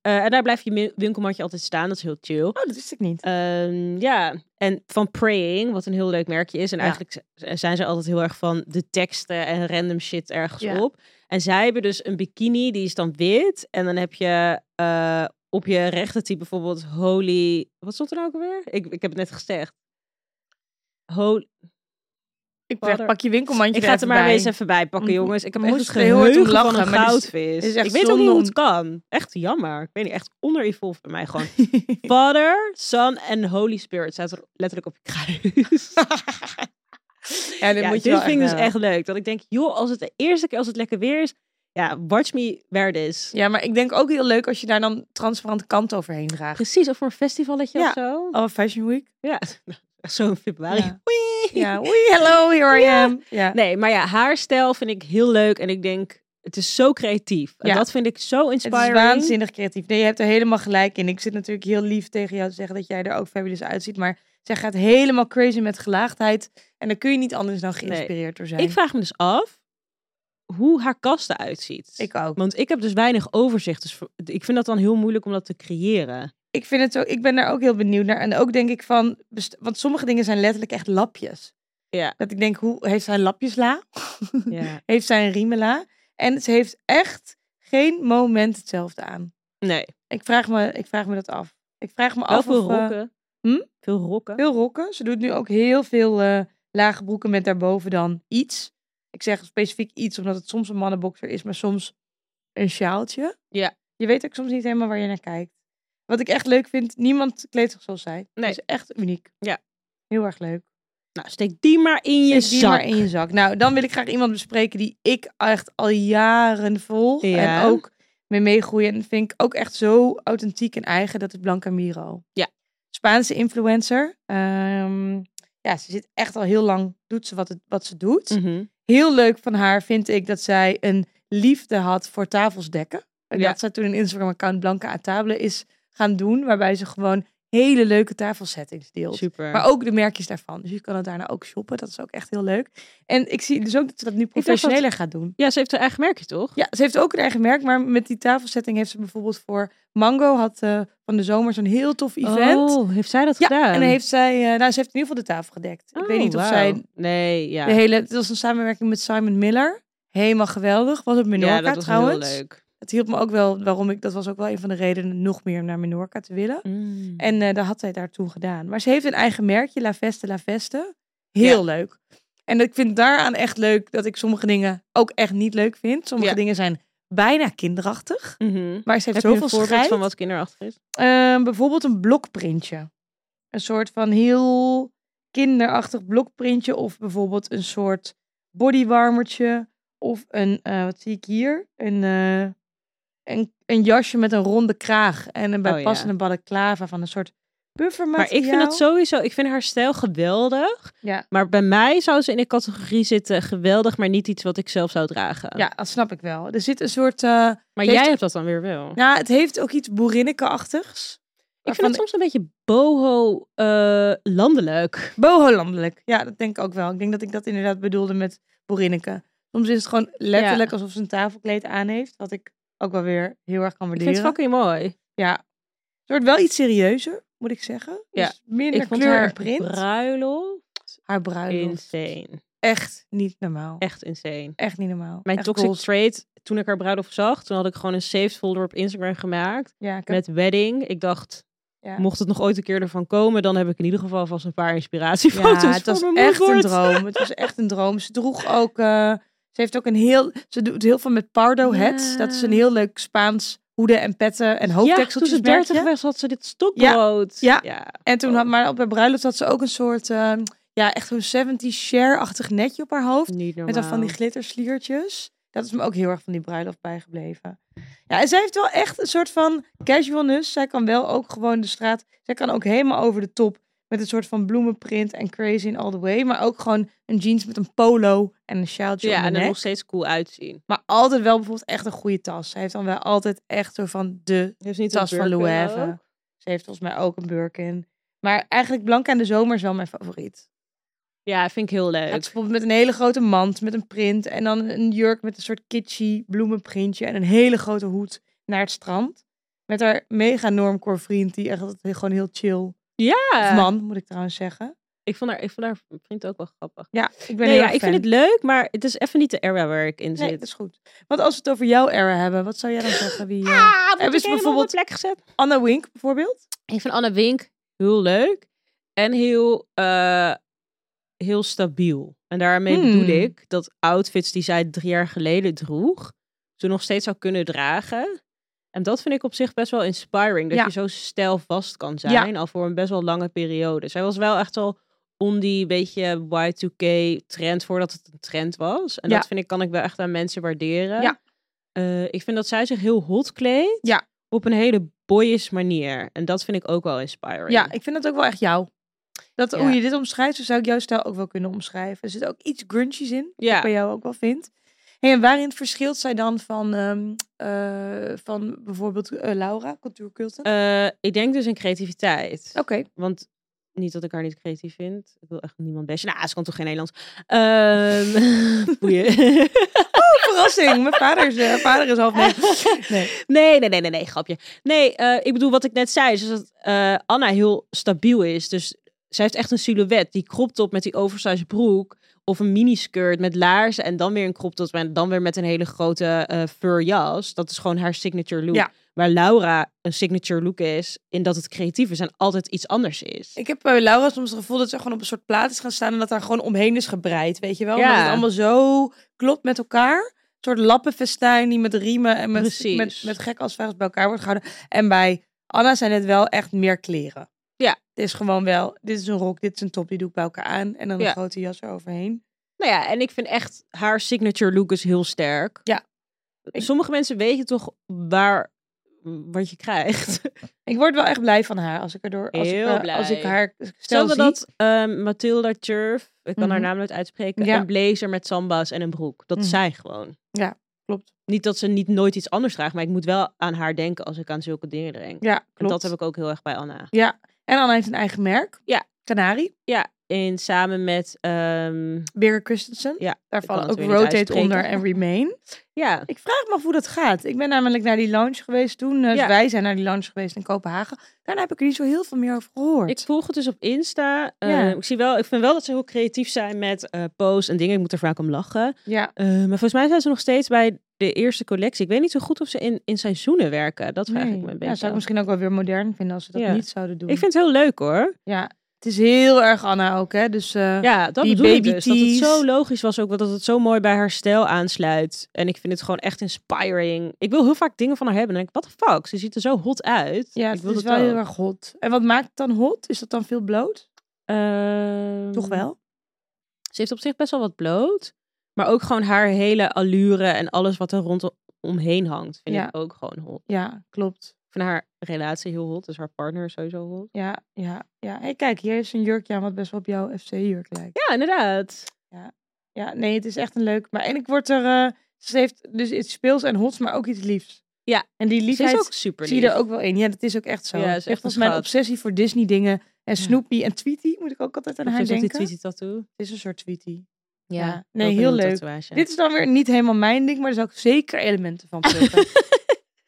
B: Eh, en daar blijft je mi- winkelmandje altijd staan. Dat is heel chill.
A: Oh, dat wist ik niet.
B: Ehm, ja, en van Praying, wat een heel leuk merkje is. En
A: Ja.
B: eigenlijk z- zijn ze altijd heel erg van de teksten en random shit ergens
A: Ja.
B: op. En zij hebben dus een bikini, die is dan wit. En dan heb je eh, op je rechtertype bijvoorbeeld Holy... Wat stond er nou ook alweer? Ik, ik heb het net gezegd. Holy...
A: Ik
B: Vader.
A: pak je winkelmandje
B: Ik ga het er maar
A: bij.
B: eens even bij pakken,
A: Mo-
B: jongens. Ik heb
A: moest
B: echt het
A: er heel hard om
B: geheugen van
A: lachen,
B: een
A: maar dit is-
B: goudvis.
A: dit is echt
B: ik weet ook niet
A: zonde
B: hoe
A: om-
B: het kan. Echt jammer. Ik weet niet, echt onder-evolved bij mij gewoon. Father, Son en Holy Spirit staat er letterlijk op je kruis.
A: ja, dit
B: ja,
A: moet je
B: dit
A: wel
B: vind ik dus
A: hebben.
B: echt leuk. Dat ik denk, joh, als het de eerste keer als het lekker weer is, ja, watch me where it is.
A: Ja, maar ik denk ook heel leuk als je daar dan transparante kant overheen draagt.
B: Precies, of voor een festivalletje
A: Ja.
B: of zo.
A: Oh, Fashion Week.
B: Ja, echt zo'n februari.
A: Ja. Ja, oei, hello, here I am. Ja.
B: Nee, maar ja, haarstijl vind ik heel leuk en ik denk, het is zo creatief. En
A: Ja.
B: dat vind ik zo
A: Het is
B: inspiring.
A: waanzinnig creatief. Nee, je hebt er helemaal gelijk in. Ik zit natuurlijk heel lief tegen jou te zeggen dat jij er ook fabulous uitziet. Maar zij gaat helemaal crazy met gelaagdheid. En daar kun je niet anders dan geïnspireerd door zijn.
B: Ik vraag me dus af hoe haar kast eruit ziet.
A: Ik ook.
B: Want ik heb dus weinig overzicht. Dus voor- ik vind dat dan heel moeilijk om dat te creëren.
A: Ik, vind het ook, ik ben daar ook heel benieuwd naar. En ook denk ik van... best- Want sommige dingen zijn letterlijk echt lapjes.
B: Ja.
A: Dat ik denk, hoe heeft zij lapjesla?
B: Ja.
A: heeft zij een riemela? En ze heeft echt geen moment hetzelfde aan.
B: Nee.
A: Ik vraag me, ik vraag me dat af. Ik vraag me
B: Wel
A: af
B: veel
A: of... eh,
B: rokken.
A: hm?
B: Veel rokken.
A: Veel rokken. Ze doet nu ook heel veel eh, lage broeken met daarboven dan iets. Ik zeg specifiek iets, omdat het soms een mannenboxer is, maar soms een sjaaltje.
B: Ja.
A: Je weet ook soms niet helemaal waar je naar kijkt. Wat ik echt leuk vind, niemand kleedt zich zoals zij.
B: Nee.
A: Dat is echt uniek.
B: Ja.
A: Heel erg leuk.
B: Nou, steek die maar in je
A: Steek die
B: zak.
A: maar in je zak. Nou, dan wil ik graag iemand bespreken die ik echt al jaren volg.
B: Ja.
A: En ook mee meegroeien. En vind ik ook echt zo authentiek en eigen. Dat is Blanca Miro.
B: Ja.
A: Spaanse influencer. Ehm, ja, ze zit echt al heel lang, doet ze wat, het, wat ze doet.
B: Mhm.
A: Heel leuk van haar vind ik dat zij een liefde had voor tafels dekken. En
B: Ja.
A: dat zij toen een Instagram-account Blanca à table is gaan doen. Waarbij ze gewoon hele leuke tafelsettings deelt.
B: Super.
A: Maar ook de merkjes daarvan. Dus je kan het daarna ook shoppen. Dat is ook echt heel leuk. En ik zie dus ook dat ze dat nu
B: dat-
A: professioneler gaat doen.
B: Ja, ze heeft haar eigen merkje, toch?
A: Ja, ze heeft ook een eigen merk. Maar met die tafelsetting heeft ze bijvoorbeeld voor Mango had eh, van de zomer zo'n heel tof event.
B: Oh, heeft zij dat
A: ja,
B: gedaan?
A: en heeft zij, eh, nou, ze heeft in ieder geval de tafel gedekt. ik weet
B: Oh,
A: niet of
B: wauw.
A: zij
B: Nee, ja.
A: de hele. Het was een samenwerking met Simon Miller. Helemaal geweldig. Was op Menorca
B: ja, dat was
A: trouwens.
B: heel leuk.
A: Het hielp me ook wel waarom ik. Dat was ook wel een van de redenen nog meer om naar Menorca te willen.
B: Mm.
A: En eh dat had zij daar toen gedaan. Maar ze heeft een eigen merkje, La Veste, La Veste. Heel leuk. En ik vind daaraan echt leuk dat ik sommige dingen ook echt niet leuk vind. Sommige
B: Ja.
A: dingen zijn bijna kinderachtig.
B: Mhm.
A: Maar ze heeft
B: Heb je een
A: zoveel
B: voorbeeld
A: schrijf.
B: van wat kinderachtig is?
A: Ehm, bijvoorbeeld een blokprintje. Een soort van heel kinderachtig blokprintje. Of bijvoorbeeld een soort bodywarmertje. Of een, eh, wat zie ik hier? Een, eh, een, een jasje met een ronde kraag. En een
B: Oh, ja.
A: bijpassende balaclava van een soort
B: Maar
A: buffermateriaal.
B: ik vind dat sowieso, ik vind haar stijl geweldig.
A: Ja.
B: Maar bij mij zou ze in de categorie zitten geweldig, maar niet iets wat ik zelf zou dragen.
A: Ja, dat snap ik wel. Er zit een soort... eh,
B: Maar
A: Heeft-
B: jij hebt dat dan weer wel.
A: nou, het heeft ook iets boerinneke-achtigs.
B: ik vind
A: waarvan-
B: het soms een beetje boho eh, landelijk.
A: Boho-landelijk. Ja, dat denk ik ook wel. Ik denk dat ik dat inderdaad bedoelde met boerinneke. Soms is het gewoon letterlijk alsof ze een tafelkleed aan heeft. Wat ik ook wel weer heel erg kan
B: Ik
A: waarderen.
B: vind het fucking mooi.
A: Ja. Het wordt wel iets serieuzer, moet ik zeggen.
B: Ja.
A: Dus minder
B: ik vond
A: kleur
B: haar
A: en print.
B: bruiloft
A: haar bruiloft.
B: insane.
A: Echt niet normaal. Echt,
B: Echt insane.
A: niet normaal.
B: Mijn
A: Echt
B: toxic
A: goals.
B: trait, toen ik haar bruiloft zag, toen had ik gewoon een saved folder op Instagram gemaakt
A: Ja, ik heb-
B: met wedding. Ik dacht,
A: Ja.
B: mocht het nog ooit een keer ervan komen, dan heb ik in ieder geval vast een paar inspiratiefoto's
A: ja, het
B: voor
A: was
B: mijn
A: echt een
B: moodboard.
A: droom. Het was echt een droom. Ze droeg ook... eh, ze heeft ook een heel... Ze doet heel veel met pardo hats. Dat is een
B: Ja.
A: heel leuk Spaans hoeden en petten en
B: Ja, toen
A: hoofdtekseltjes.
B: ze 30 was, had ze dit stokbrood.
A: Ja,
B: ja.
A: En toen had
B: Oh.
A: maar op haar bruiloft had ze ook een soort, eh, ja, echt zo'n 70s share-achtig netje op haar hoofd.
B: Niet normaal.
A: Met dan van die glittersliertjes. Dat is me ook heel erg van die bruiloft bijgebleven. Ja, en zij heeft wel echt een soort van casualness. Zij kan wel ook gewoon de straat. Zij kan ook helemaal over de top. Met een soort van bloemenprint en crazy in all the way. Maar ook gewoon een jeans met een polo en een sjaaltje
B: ja,
A: om de
B: en er
A: nek.
B: nog steeds cool uitzien.
A: Maar altijd wel bijvoorbeeld echt een goede tas. Zij heeft dan wel altijd echt zo van de
B: Heeft niet
A: een Tas van Lou Burkin Haven. ook? Ze heeft volgens mij ook een Birkin. Maar eigenlijk Blanca in de zomer is wel mijn favoriet.
B: Ja, vind ik heel leuk.
A: Het is bijvoorbeeld met een hele grote mand, met een print. En dan een jurk met een soort kitschy bloemenprintje. En een hele grote hoed naar het strand. Met haar mega normcore vriend, die echt altijd gewoon heel chill. Of
B: ja,
A: man, moet ik trouwens zeggen.
B: ik vond haar, ik vond haar vriend ook wel grappig.
A: Ja, ik ben
B: Nee,
A: heel
B: ja,
A: erg
B: ik vind
A: fan.
B: het leuk, maar het is even niet de era waar ik in
A: Nee,
B: zit.
A: dat is goed. Want als we het over jouw era hebben, wat zou jij dan zeggen? Wie, eh,
B: Ah, word
A: Hebben
B: ik
A: ze
B: helemaal op
A: bijvoorbeeld-
B: mijn plek gezet?
A: Anna Wink bijvoorbeeld?
B: Ik vind Anna Wink heel leuk en heel, eh, heel stabiel. En daarmee
A: Hmm.
B: bedoel ik dat outfits die zij drie jaar geleden droeg, ze nog steeds zou kunnen dragen. En dat vind ik op zich best wel inspiring, dat
A: Ja.
B: je zo stijlvast kan zijn, al voor een best wel lange periode. Zij was wel echt al om die beetje Y2K trend, voordat het een trend was. En
A: Ja.
B: dat vind ik, kan ik wel echt aan mensen waarderen.
A: Ja.
B: Eh, ik vind dat zij zich heel hot kleedt
A: Ja.
B: op een hele boyish manier. En dat vind ik ook wel inspiring.
A: Ja, ik vind dat ook wel echt jou. Dat hoe
B: Ja.
A: je dit omschrijft, zo zou ik jouw stijl ook wel kunnen omschrijven. Er zit ook iets grunchies in.
B: ja.
A: bij jou ook wel vindt. Hey, en waarin verschilt zij dan van, ehm, eh, van bijvoorbeeld eh, Laura, cultuurkulten?
B: Eh, ik denk dus in creativiteit.
A: Oké,
B: Want niet dat ik haar niet creatief vind. Ik wil echt niemand best. Nou, ze kan toch geen Nederlands. Ehm boeien.
A: verrassing. Mijn vader is, eh, vader is half negen. Nee.
B: Nee, nee, nee, nee, nee, grapje. Nee, eh, ik bedoel wat ik net zei, is dat eh, Anna heel stabiel is. Dus zij heeft echt een silhouet. Die crop top met die oversized broek of een miniskirt met laarzen en dan weer een crop top en dan weer met een hele grote eh fur jas. Dat is gewoon haar signature look.
A: Ja.
B: Waar Laura een signature look is in dat het creatief is en altijd iets anders is.
A: Ik heb bij Laura soms het gevoel dat ze gewoon op een soort plaat is gaan staan en dat daar gewoon omheen is gebreid, weet je wel?
B: Ja.
A: Omdat het allemaal zo klopt met elkaar. Een soort lappenfestijn die met riemen en met,
B: Precies.
A: met, met gekke asvragens bij elkaar wordt gehouden. En bij Anna zijn het wel echt meer kleren.
B: Ja.
A: Het is gewoon wel, dit is een rok, dit is een top, die doe ik bij elkaar aan. En dan een
B: Ja.
A: grote jas eroverheen.
B: Nou ja, en ik vind echt haar signature look is heel sterk.
A: Ja.
B: Sommige mensen weten toch waar wat je krijgt.
A: Ik word wel echt blij van haar als ik erdoor als
B: Heel
A: ik, eh, als ik
B: blij.
A: haar stel
B: Stel
A: zie.
B: dat ehm, Mathilda Turf, ik kan haar
A: Mhm.
B: naam nooit uitspreken,
A: Ja.
B: een blazer met samba's en een broek. Dat
A: Mhm.
B: zij gewoon.
A: klopt.
B: Niet dat ze niet nooit iets anders draagt, maar ik moet wel aan haar denken als ik aan zulke dingen denk.
A: Ja, klopt.
B: En dat heb ik ook heel erg bij Anna.
A: En Anna heeft een eigen merk.
B: Ja.
A: Canari,
B: Ja, in samen met, ehm,
A: Birger Christensen.
B: Ja,
A: Daar
B: ik
A: vallen
B: kan het
A: ook
B: weer niet
A: Rotate
B: uitspreken.
A: onder en Remain.
B: ja,
A: Ik vraag me af hoe dat gaat. Ik ben namelijk naar die lounge geweest toen. eh, dus
B: Ja.
A: Wij zijn naar die lounge geweest in Kopenhagen. Daarna heb ik er niet zo heel veel meer over gehoord.
B: ik volg het dus op Insta.
A: Ja.
B: Ehm, ik, zie wel, ik vind wel dat ze heel creatief zijn met eh posts en dingen. Ik moet er vaak om lachen.
A: ja.
B: Eh, maar volgens mij zijn ze nog steeds bij de eerste collectie. Ik weet niet zo goed of ze in, in seizoenen werken. Dat vraag
A: Nee.
B: ik me een beetje
A: ja, zou ik
B: af.
A: misschien ook wel weer modern vinden als ze dat
B: Ja.
A: niet zouden doen.
B: Ik vind het heel leuk hoor.
A: Ja, het is heel erg Anna ook, hè? Dus eh,
B: Ja, dat
A: Die
B: bedoel ik
A: baby
B: dus. Dat het
A: tees.
B: zo logisch was ook, dat het zo mooi bij haar stijl aansluit. En ik vind het gewoon echt inspiring. Ik wil heel vaak dingen van haar hebben. En ik denk, what the fuck, ze ziet er zo hot uit.
A: ja
B: ik
A: het
B: wil
A: is
B: dat
A: wel
B: ook.
A: heel erg hot. En wat maakt het dan hot? Is dat dan veel bloot?
B: Ehm,
A: Toch wel?
B: Ze heeft op zich best wel wat bloot. Maar ook gewoon haar hele allure en alles wat er rondomheen hangt, vind
A: Ja.
B: ik ook gewoon hot.
A: Ja, klopt.
B: Ik vind haar relatie heel hot, dus haar partner is sowieso hot.
A: Ja, ja, ja. Hey, kijk, hier is een jurkje aan wat best wel op jouw FC-jurk lijkt.
B: Ja, inderdaad.
A: Ja, nee, het is echt een leuk. Maar en ik word er. eh, ze heeft dus iets speels en hots, maar ook iets liefs.
B: Ja.
A: En die
B: Ze is ook
A: liefheid
B: super
A: zie je
B: lief.
A: er ook wel in. Ja, dat is ook echt zo.
B: Ja, ze is
A: Echt
B: echt een
A: volgens mij een
B: schat.
A: obsessie voor Disney dingen en Snoopy en Tweety moet ik ook altijd aan
B: Of
A: haar
B: heeft ook
A: denken.
B: die tweety tattoo.
A: Het is een soort Tweety.
B: Ja,
A: Ja. Nee,
B: ook een
A: heel
B: nieuwe
A: leuk.
B: tatoeage.
A: Dit is dan weer niet helemaal mijn ding, maar er zou ik zeker elementen van plukken.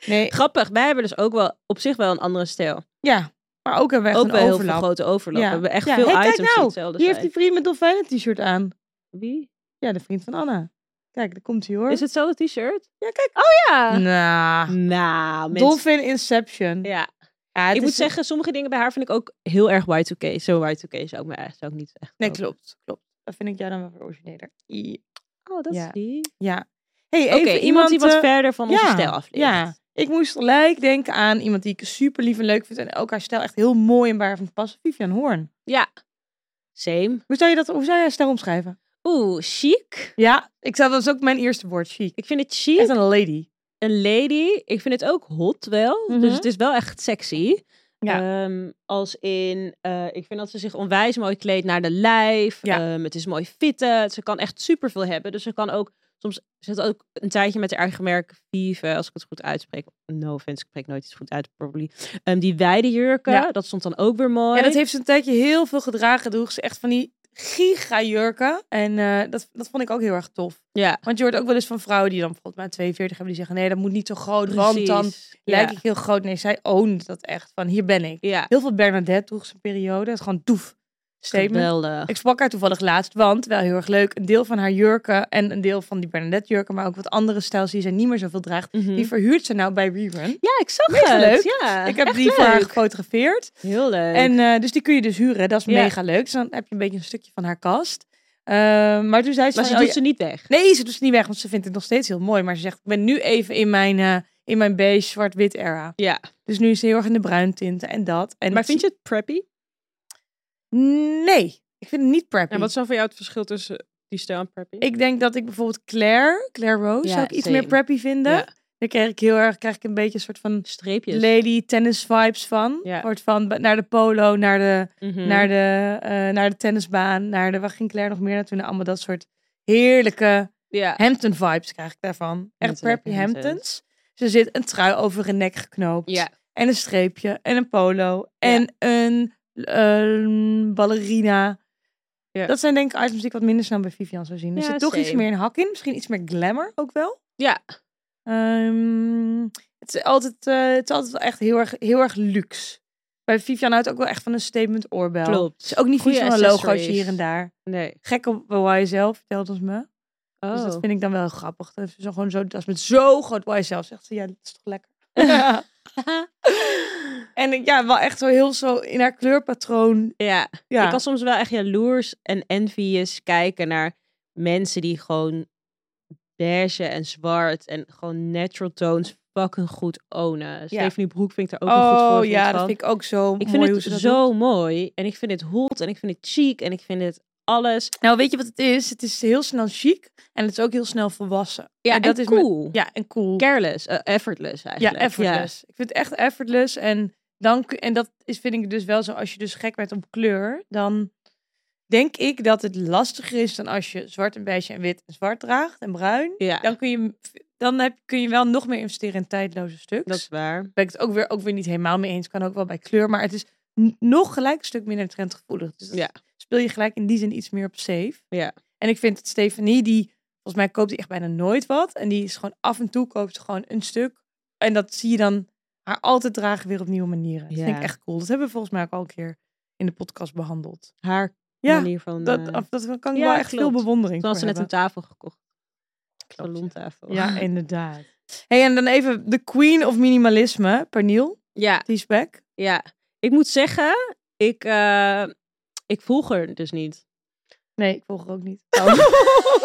A: nee,
B: Grappig, wij hebben dus ook wel op zich wel een andere stijl.
A: ja. Maar ook hebben we echt
B: ook
A: een
B: wel heel veel
A: overlap.
B: grote overlap.
A: Ja.
B: We hebben echt
A: Ja,
B: veel
A: hey, kijk
B: items die
A: nou,
B: hetzelfde
A: Hier heeft
B: zijn.
A: die vriend met dolfijnen t-shirt aan.
B: Wie?
A: Ja, de vriend van Anna. Kijk, daar komt hij hoor.
B: Is het hetzelfde t-shirt?
A: Ja, kijk.
B: Oh ja!
A: Nou,
B: Nou, mensen.
A: Dolphin Inception.
B: Ja.
A: Ja, het
B: Ik moet
A: is-
B: zeggen, sommige dingen bij haar vind ik ook heel erg Y2K. Zo Y2K zou ik me eigenlijk zou ik niet echt
A: Nee,
B: kopen.
A: klopt. klopt. Dat vind ik jou dan wel weer origineler. I-
B: Oh, dat
A: Ja.
B: is die.
A: Ja. hey,
B: Oké,
A: even
B: iemand, die wat
A: eh,
B: verder van onze
A: ja,
B: stijl af ligt.
A: Ja, ik moest gelijk denken aan iemand die ik super lief en leuk vind. En ook haar stijl echt heel mooi en waar haar van passen. Vivian Hoorn.
B: Ja. Same.
A: Hoe zou je dat, hoe zou jij haar stijl omschrijven?
B: Oeh, chic.
A: Ja, ik zou, dat is ook mijn eerste woord, chic.
B: Ik vind het chic.
A: Echt een lady.
B: een lady. Ik vind het ook hot wel.
A: Mhm.
B: Dus het is wel echt sexy.
A: Ja.
B: Ehm, als in, eh, ik vind dat ze zich onwijs mooi kleedt naar de lijf.
A: Ja.
B: Ehm, het is mooi fitten. Ze kan echt super veel hebben. Dus ze kan ook, soms zit ook een tijdje met haar eigen merk Vive, als ik het goed uitspreek. No offense, ik spreek nooit iets goed uit, probably. Ehm, die wijde jurken,
A: Ja.
B: dat stond dan ook weer mooi.
A: Ja, dat heeft ze een tijdje heel veel gedragen. Droeg ze echt van die giga jurken. En eh, dat, dat vond ik ook heel erg tof.
B: Ja.
A: Want je hoort ook wel eens van vrouwen die dan bijvoorbeeld maar 42 hebben. Die zeggen, nee, dat moet niet zo groot. Want dan
B: Precies.
A: lijk
B: ja.
A: ik heel groot. Nee, zij owned dat echt. Van, hier ben ik.
B: Ja.
A: Heel veel Bernadette droeg zijn periode. Het is gewoon doef. Statement.
B: Geweldig.
A: Ik sprak haar toevallig laatst, want wel heel erg leuk. Een deel van haar jurken en een deel van die Bernadette jurken, maar ook wat andere stijls die zij niet meer zoveel draagt.
B: Mhm.
A: Die verhuurt ze nou bij Rerun.
B: Ja, ik zag
A: Mega
B: het.
A: leuk.
B: Ja,
A: ik heb
B: echt
A: die voor haar
B: leuk.
A: gefotografeerd.
B: Heel leuk.
A: En eh, dus die kun je dus huren. Dat is
B: Ja.
A: mega leuk. Dus dan heb je een beetje een stukje van haar kast. Eh, maar toen zei ze, van,
B: maar ze
A: oh,
B: doet
A: ja-
B: ze niet weg.
A: nee, ze doet ze niet weg, want ze vindt het nog steeds heel mooi. Maar ze zegt, ik ben nu even in mijn, eh, in mijn beige zwart-wit era.
B: Ja.
A: Dus nu is ze heel erg in de bruintinten en dat. En
B: Maar vind je het preppy?
A: Nee, ik vind het niet preppy.
B: En wat is dan voor jou het verschil tussen die stijl en preppy?
A: Ik denk dat ik bijvoorbeeld Claire, Claire Rose,
B: Ja,
A: zou ik iets
B: same.
A: meer preppy vinden.
B: Ja.
A: Dan krijg ik heel erg, krijg ik een beetje een soort van
B: streepjes.
A: lady tennis vibes van.
B: Ja.
A: Soort van b- naar de polo, naar de,
B: Mhm.
A: naar, de, eh, naar de tennisbaan, naar de, waar ging Claire nog meer naartoe? Nou, allemaal dat soort heerlijke
B: ja.
A: Hampton vibes krijg ik daarvan. Echt
B: Mensen lekker
A: preppy
B: Hamptons.
A: Hamptons. Ze zit een trui over hun nek geknoopt.
B: ja.
A: En een streepje. En een polo. En een ehm, ballerina.
B: Ja.
A: Dat zijn denk ik items die ik wat minder snel bij Vivian zou zien. Dus Er
B: Ja,
A: zit toch iets
B: same.
A: meer een hak in. Misschien iets meer glamour ook wel.
B: Ja.
A: Ehm, het, is altijd, eh, het is altijd wel echt heel erg, heel erg luxe. Bij Vivian houdt ook wel echt van een statement oorbel.
B: Klopt.
A: Het is ook niet vies van
B: Goeie
A: een logootje
B: accessories.
A: hier en daar.
B: Nee.
A: Gek op YSL, vertelt ons me.
B: Oh.
A: Dus dat vind ik dan wel grappig. Dat ze zo gewoon zo, dat is met zo groot YSL zegt ze, ja, dat is toch lekker. En ik- ja, wel echt zo heel zo in haar kleurpatroon.
B: ja.
A: Ja,
B: Ik kan soms wel echt jaloers en envious kijken naar mensen die gewoon beige en zwart en gewoon natural tones fucking goed ownen. Stephanie Broek vind ik daar ook een goed
A: oh
B: voorbeeld
A: ja,
B: van.
A: dat vind ik ook zo
B: Ik
A: mooi
B: vind
A: hoe ze
B: het
A: dat
B: zo
A: doet.
B: mooi. En ik vind het hot en ik vind het chic en ik vind het alles.
A: Nou, weet je wat het is? Het is heel snel chic en het is ook heel snel volwassen.
B: Ja,
A: en dat is me-
B: cool.
A: Ja, en cool.
B: Careless, eh, effortless
A: ja,
B: eigenlijk.
A: effortless. Ik vind het echt effortless. En, dan, kun- en dat is, vind ik dus wel zo, als je dus gek bent op kleur, dan denk ik dat het lastiger is dan als je zwart en beige en wit en zwart draagt en bruin.
B: Ja,
A: Dan kun je, dan heb, kun je wel nog meer investeren in tijdloze stuks.
B: dat is waar.
A: ben ik het ook weer, ook weer niet helemaal mee eens. Kan ook wel bij kleur, maar het is n- nog gelijk een stuk minder trendgevoelig. Dus dat
B: Ja.
A: speel je gelijk in die zin iets meer op safe.
B: Ja.
A: En ik vind dat Stefanie, die volgens mij koopt die echt bijna nooit wat. En die is gewoon af en toe koopt ze gewoon een stuk. En dat zie je dan haar altijd dragen weer op nieuwe manieren. Dat vind
B: Ja.
A: ik echt cool. Dat hebben we volgens mij ook al een keer in de podcast behandeld.
B: Haar
A: Ja,
B: manier van...
A: Dat,
B: eh,
A: af- dat kan ik
B: ja,
A: wel echt veel
B: klopt.
A: bewondering
B: toen had ze
A: voor
B: net een
A: hebben.
B: tafel gekocht.
A: Klopt, ja.
B: Salontafel.
A: Ja, inderdaad. hey, en dan even de queen of minimalisme, Pernil,
B: ja,
A: die is back.
B: ja. Ik moet zeggen, ik, eh, ik volg haar dus niet.
A: Nee, ik volg haar ook niet.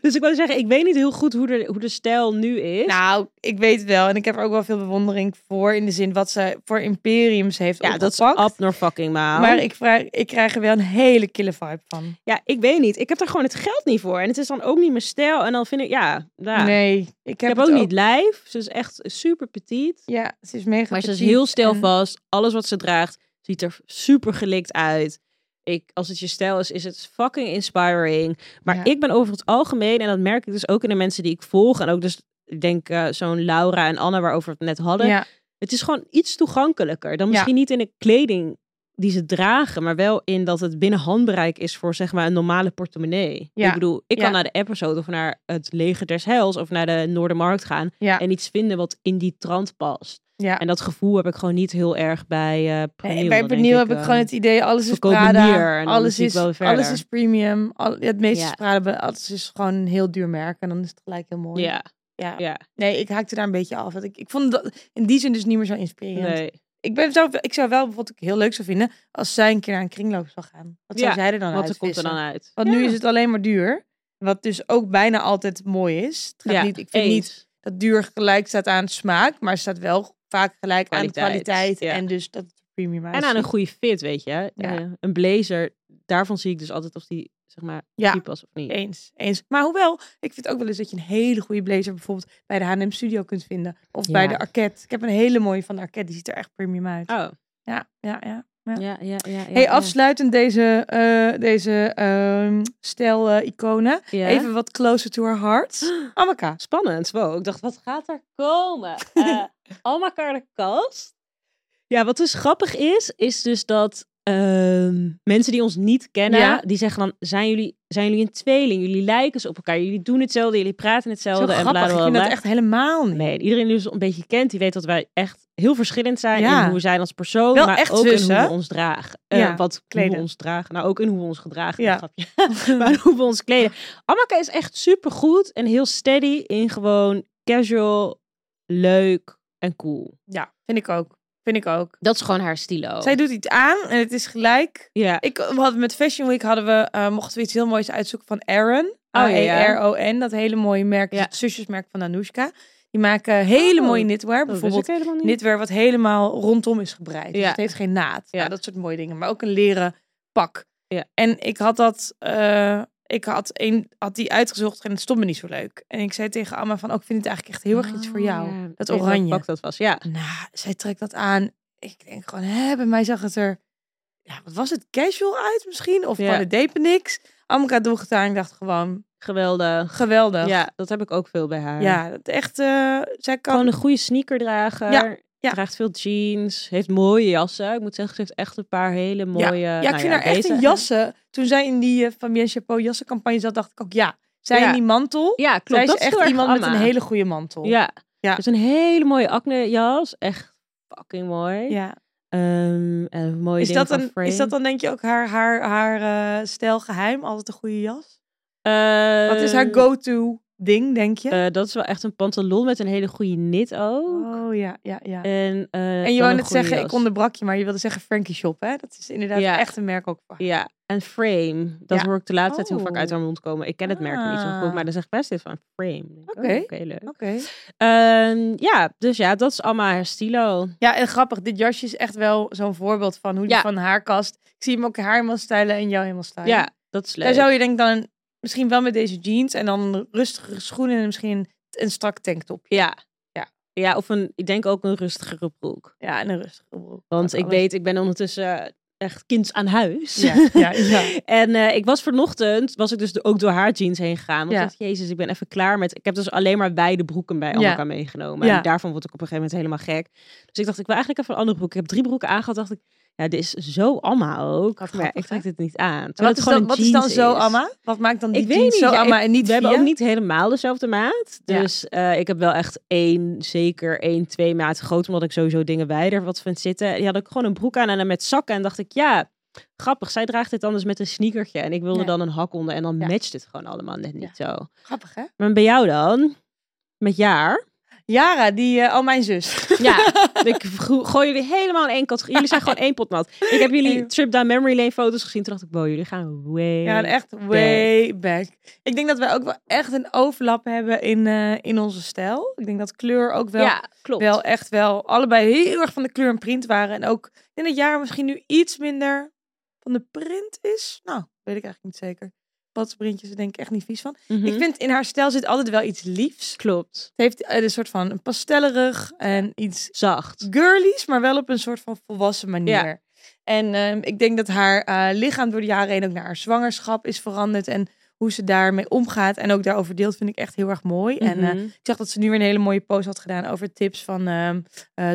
B: dus ik wou zeggen, ik weet niet heel goed hoe de, hoe de stijl nu is.
A: Nou, ik weet het wel. En ik heb er ook wel veel bewondering voor. In de zin wat ze voor imperiums heeft
B: ja, dat is nou.
A: opgepakt.
B: abnor fucking maal.
A: Maar ik, vraag, ik krijg er wel een hele kille vibe van.
B: Ja, ik weet niet. Ik heb daar gewoon het geld niet voor. En het is dan ook niet mijn stijl. En dan vind ik, ja, daar.
A: Nee, ik heb,
B: ik heb
A: het
B: ook niet lijf. Ze is echt super petit.
A: Ja, ze is mega
B: Maar ze is
A: petit
B: heel
A: en-
B: stijlvast. Alles wat ze draagt ziet er super gelikt uit. Ik, als het je stijl is, is het fucking inspiring. Maar
A: Ja.
B: ik ben over het algemeen, en dat merk ik dus ook in de mensen die ik volg. En ook dus, ik denk eh, zo'n Laura en Anna waarover we het net hadden.
A: Ja,
B: Het is gewoon iets toegankelijker. Dan
A: Ja.
B: misschien niet in de kleding die ze dragen, maar wel in dat het binnen handbereik is voor zeg maar een normale portemonnee.
A: Ja.
B: Ik bedoel, ik
A: Ja.
B: kan naar de episode of naar het leger des heils of naar de Noordermarkt gaan
A: ja,
B: en iets vinden wat in die trant past.
A: ja.
B: En dat gevoel heb ik gewoon niet heel erg bij eh Pernil.
A: Nee, bij
B: Dan denk
A: Pernil heb ik
B: eh,
A: gewoon het idee, alles is
B: we kopen hier
A: Prada,
B: en dan
A: alles
B: zie ik
A: is,
B: wel weer
A: alles
B: verder.
A: is premium, al, ja, het meeste
B: Ja.
A: is Prada, alles is gewoon een heel duur merk en dan is het gelijk heel mooi.
B: Ja,
A: Ja.
B: ja.
A: Nee, ik haakte daar een beetje af. want Ik, ik vond dat in die zin dus niet meer zo inspirerend.
B: Nee.
A: ik, ben, zou, ik zou wel wat ik heel leuk zou vinden als zij een keer naar een kringloop zou gaan. Wat zou
B: Ja,
A: zij er dan
B: Wat
A: uit
B: er komt er
A: vissen?
B: dan uit?
A: Want nu is het alleen maar duur. Wat dus ook bijna altijd mooi is. Het gaat niet, ik vind niet
B: eens.
A: dat duur gelijk staat aan smaak, maar het staat wel vaak gelijk aan de
B: Kwaliteit,
A: kwaliteit.
B: ja.
A: En dus dat het er premium
B: En aan een
A: uitziet.
B: goede fit, weet je.
A: Ja.
B: Eh, een blazer, daarvan zie ik dus altijd of die zeg maar
A: Ja.
B: type was of niet.
A: Eens, eens. Maar hoewel, ik vind ook wel eens dat je een hele goede blazer bijvoorbeeld bij de H&M Studio kunt vinden. Of bij
B: Ja.
A: de Arket. Ik heb een hele mooie van de Arket, die ziet er echt premium uit.
B: Oh,
A: Ja, ja, ja.
B: ja, ja, ja. ja,
A: hey,
B: ja.
A: afsluitend deze, eh deze ehm stel eh, iconen.
B: Ja.
A: Even wat closer to Oh, our hearts. Amaka.
B: spannend. Wow, ik dacht, wat gaat er komen? Eh Alma Kar de Kast. Ja, wat dus grappig is, is dus dat ehm, mensen die ons niet kennen,
A: Ja.
B: die zeggen dan, zijn jullie, zijn jullie een tweeling? Jullie lijken ze op elkaar, jullie doen hetzelfde, jullie praten
A: Zo
B: hetzelfde. en
A: grappig. Ik
B: bla, bla,
A: vind
B: bla.
A: dat echt helemaal niet.
B: Nee, iedereen die ons een beetje kent, die weet dat wij echt heel verschillend zijn
A: Ja.
B: in hoe we zijn als persoon,
A: Wel
B: maar
A: echt
B: ook
A: zus,
B: in
A: hè?
B: hoe we ons dragen. Eh,
A: Ja,
B: wat hoe
A: kleden.
B: we ons dragen. Nou, ook in hoe we ons gedragen.
A: Ja.
B: Ja. maar hoe we ons kleden. Amaka is echt supergoed en heel steady in gewoon casual, leuk en cool.
A: Ja, vind ik ook. Vind ik ook.
B: Dat is gewoon haar stilo.
A: Zij doet iets aan en het is gelijk.
B: Ja. Oh,
A: Ik we hadden met Fashion Week hadden we, eh, mochten we iets heel moois uitzoeken van Aaron.
B: Oh, ja, ja.
A: A-E-R-O-N, dat hele mooie merk,
B: Ja.
A: het zusjesmerk van Anoushka. Die maken hele
B: Oh,
A: mooie knitwear.
B: Dat wist
A: Bijvoorbeeld
B: ik helemaal niet.
A: knitwear wat helemaal rondom is gebreid. Dus
B: Mm. Ja.
A: het heeft geen naad.
B: Ja.
A: Nou, dat soort mooie dingen. Maar ook een leren pak.
B: Ja.
A: En ik had dat... eh, ik had, een, had die uitgezocht en het stond me niet zo leuk. En ik zei tegen Amma van... Oh, ik vind het eigenlijk echt heel erg iets voor
B: Oh,
A: jou.
B: ja. Ik
A: Dat
B: weet welk
A: oranje.
B: pak dat was, ja.
A: Nou, zij trekt dat aan. Ik denk gewoon, hè, bij mij zag het er... Ja, wat was het? Casual uit misschien? Of
B: Ja.
A: van, het deed me niks. Amka droeg het aan. Ik dacht gewoon,
B: Geweldig.
A: geweldig.
B: Ja, dat heb ik ook veel bij haar.
A: Ja, dat echt... eh, zij kan...
B: Gewoon een goede sneaker dragen.
A: Ja, ja.
B: Draagt veel jeans. Heeft mooie jassen. Ik moet zeggen, ze heeft echt een paar hele mooie...
A: ja,
B: nou
A: ik vind haar echt
B: deze-
A: in jassen. Toen zij in die eh, Fabienne Chapeau jassencampagne zat, dacht ik ook, ja. Zij
B: Ja.
A: in die mantel.
B: Ja, klopt.
A: zij is
B: dat
A: echt
B: heel erg
A: iemand met
B: Anna.
A: een hele goede mantel.
B: Ja.
A: Ja.
B: Ze heeft een hele mooie acne jas. Echt fucking mooi.
A: Ja.
B: Ehm, en een mooie
A: Is,
B: ding
A: dat
B: van
A: een,
B: Frame.
A: is dat dan denk je ook haar, haar, haar eh, stijl geheim? Altijd een goede jas?
B: Eh,
A: Wat is haar go-to ding, denk je?
B: eh, dat is wel echt een pantalon met een hele goede knit ook.
A: oh ja, ja, ja.
B: En,
A: En
B: eh,
A: je
B: dan
A: wou
B: een
A: net
B: goede
A: zeggen, ik
B: jas.
A: onderbrak je, maar je wilde zeggen Frankie Shop, hè? Dat is inderdaad
B: Ja.
A: echt een merk ook. voor haar.
B: Ja, en Frame. Dat
A: Ja.
B: hoor ik de laatste tijd heel vaak
A: Oh.
B: uit haar mond komen. Ik ken het merk niet zo
A: Ah.
B: goed, maar dan zeg ik best dit van Frame. Ik denk, oh,
A: Oké.
B: leuk.
A: Oké.
B: Ehm, ja, dus ja, dat is allemaal haar stilo.
A: Ja, en grappig, dit jasje is echt wel zo'n voorbeeld van hoe die
B: Ja.
A: van haar kast. Ik zie hem ook haar helemaal stylen en jou helemaal stylen.
B: Ja, dat is leuk.
A: Daar zou je denk ik dan misschien wel met deze jeans en dan rustige schoenen en misschien een, een strak tanktopje.
B: Ja.
A: Ja.
B: Ja, of een, ik denk ook een rustigere broek.
A: Ja, en een rustige broek.
B: Want
A: Kan
B: ik
A: alles.
B: weet, ik ben ondertussen eh, echt kind aan huis.
A: Ja, ja, ja.
B: en eh, ik was vanochtend, was ik dus ook door haar jeans heen gegaan. Want
A: Ja.
B: ik dacht, jezus, ik ben even klaar met... Ik heb dus alleen maar wijde broeken bij
A: Ja.
B: Annika meegenomen.
A: Ja.
B: En daarvan word ik op een gegeven moment helemaal gek. Dus ik dacht, ik wil eigenlijk even een andere broek. Ik heb drie broeken aangehad. dacht ik, ja, dit is zo Amma ook.
A: Wat
B: maar ja,
A: grappig,
B: ik trek dit niet aan.
A: Wat
B: Terwijl het
A: is,
B: gewoon
A: dan,
B: een
A: wat is dan
B: jeans
A: zo,
B: is.
A: Amma? Wat maakt dan die
B: Ik weet
A: jeans
B: niet,
A: zo,
B: ja,
A: Amma, en niet
B: We hebben
A: via?
B: ook niet helemaal dezelfde maat.
A: Ja.
B: Dus eh, ik heb wel echt één, zeker één, twee maat groot. Omdat ik sowieso dingen wijder wat vind zitten. Die had ik gewoon een broek aan en dan met zakken. En dacht ik, ja, grappig. Zij draagt dit anders met een sneakertje. En ik wilde
A: Ja.
B: dan een hak onder. En dan
A: Ja.
B: matcht het gewoon allemaal net niet zo.
A: Grappig, hè?
B: Maar bij jou dan? Met jaar?
A: Yara, die, eh, al mijn zus.
B: Ja, ik gro- gooi jullie helemaal in één categorie. Jullie zijn gewoon één pot nat. Ik heb jullie
A: Eeuw.
B: trip down memory lane foto's gezien. Toen dacht ik, wow, jullie gaan way
A: Ja, en echt way back. Ik denk dat wij ook wel echt een overlap hebben in, eh, in onze stijl. Ik denk dat kleur ook wel,
B: Ja, klopt.
A: wel echt wel allebei heel erg van de kleur en print waren. En ook in het jaar misschien nu iets minder van de print is. Nou, weet ik eigenlijk niet zeker. Patsprintjes, daar denk ik echt niet vies van.
B: Mhm.
A: Ik vind in haar stijl zit altijd wel iets liefs.
B: Klopt.
A: Het heeft eh, een soort van een pastellerig en iets
B: Zacht.
A: girlies, maar wel op een soort van volwassen manier. En ehm, ik denk dat haar eh, lichaam door de jaren heen ook naar haar zwangerschap is veranderd. En hoe ze daarmee omgaat en ook daarover deelt, vind ik echt heel erg mooi. En eh,
B: Mhm.
A: ik zag dat ze nu weer een hele mooie post had gedaan over tips van ehm eh,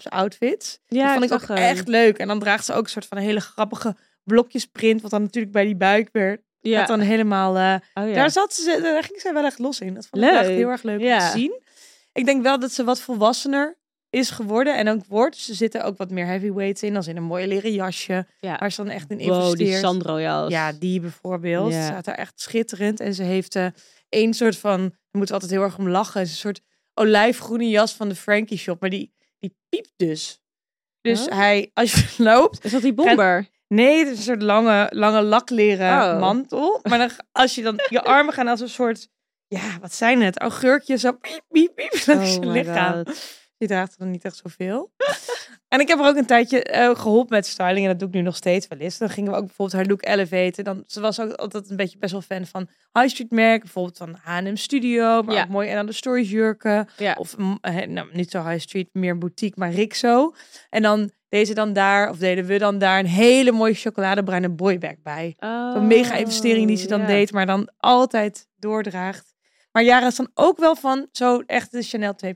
A: zwangerschapsoutfits.
B: Ja,
A: dat vond ik ook
B: zag eh, hem.
A: echt leuk. En dan draagt ze ook een soort van hele grappige blokjesprint, wat dan natuurlijk bij die buik weer
B: Ja.
A: gaat dan helemaal... eh,
B: Oh, ja.
A: daar, zat ze, daar ging zij wel echt los in. Dat vond ik wel echt
B: Leuk.
A: heel erg leuk om
B: Ja.
A: te zien. Ik denk wel dat ze wat volwassener is geworden en ook wordt. Dus er zitten ook wat meer heavyweights in, als in een mooi leren jasje.
B: Ja.
A: Waar ze dan echt in
B: Wow,
A: investeert.
B: die Sandro jas.
A: Ja, die bijvoorbeeld.
B: Ja.
A: Ze staat daar echt schitterend. En ze heeft eh één soort van, daar moeten we altijd heel erg om lachen, is een soort olijfgroene jas van de Frankie Shop. Maar die, die piept dus. Dus
B: Huh?
A: hij, als je loopt,
B: Is dat die bomber?
A: Nee, het is een soort lange, lange lakleren
B: Oh.
A: mantel. Maar dan, als je dan je armen gaan als een soort, ja, wat zijn het? Augurkjes zo piep, piep, piep langs je
B: Oh my
A: lichaam.
B: god.
A: Je draagt er dan niet echt zoveel. en ik heb er ook een tijdje eh, geholpen met styling. En dat doe ik nu nog steeds wel eens. Dan gingen we ook bijvoorbeeld haar look elevaten. Dan, ze was ook altijd een beetje best wel fan van high street merken. Bijvoorbeeld van H&M Studio. Maar
B: Ja.
A: ook mooi en aan de stories jurken.
B: Ja.
A: Of mm, eh, nou, niet zo high street, meer boutique, maar Rixo. En dan deze dan daar, of deden we dan daar, een hele mooie chocoladebruine boyback bij. Zo'n mega investering die ze dan
B: Oh, ja.
A: deed, maar dan altijd doordraagt. Maar Jara is dan ook wel van zo echt de Chanel 2.5.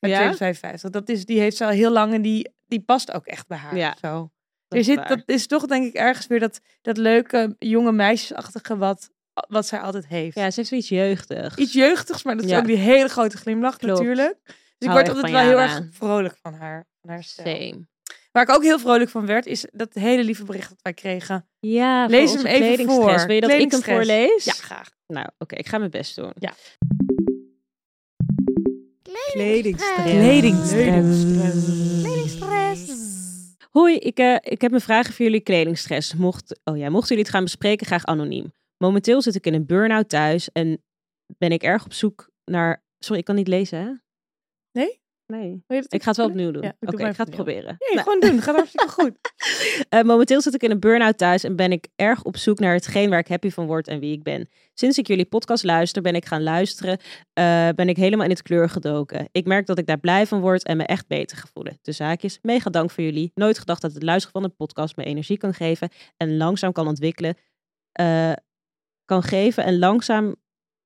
A: Met
B: Ja?
A: 255. Dat is, die heeft ze al heel lang en die, die past ook echt bij haar.
B: Ja.
A: Zo. er
B: is
A: zit,
B: waar.
A: dat is toch denk ik ergens weer dat, dat leuke jonge meisjesachtige wat, wat zij altijd heeft.
B: Ja, ze heeft zoiets jeugdigs.
A: Iets jeugdigs, maar dat is
B: Ja.
A: ook die hele grote glimlach
B: Klopt.
A: natuurlijk. Dus ik
B: Hou
A: word
B: echt
A: altijd
B: van
A: wel heel
B: Yara.
A: erg vrolijk van haar. Van haar stijl.
B: Same.
A: Waar ik ook heel vrolijk van werd, is dat hele lieve bericht dat wij kregen.
B: Ja, voor
A: Lees
B: onze
A: hem even
B: kledingstress.
A: voor.
B: Wil je dat ik hem
A: Kledingstress.
B: voorlees?
A: Ja, graag.
B: Nou, oké, ik ga mijn best doen.
A: Ja.
B: Kledingstress.
A: Kledingstress.
B: Hoi, ik, eh, ik heb een vraag voor jullie kledingstress. Mocht, oh ja, mochten jullie het gaan bespreken, graag anoniem. Momenteel zit ik in een burn-out thuis en ben ik erg op zoek naar... Sorry, ik kan niet lezen, hè?
A: Nee?
B: Nee.
A: Wil je dat
B: Ik ga het wel
A: doen?
B: opnieuw doen.
A: Ja, ik doe
B: Oké,
A: maar
B: ik ga het
A: even
B: proberen. Nou,
A: Nee, gewoon doen. Gaat hartstikke goed.
B: Eh, momenteel zit ik in een burn-out thuis en ben ik erg op zoek naar hetgeen waar ik happy van word en wie ik ben. Sinds ik jullie podcast luister, ben ik gaan luisteren, eh, ben ik helemaal in het kleur gedoken. Ik merk dat ik daar blij van word en me echt beter ga voelen. Dus zaakjes, mega dank voor jullie. Nooit gedacht dat het luisteren van een podcast me energie kan geven en langzaam kan ontwikkelen. eh, kan geven en langzaam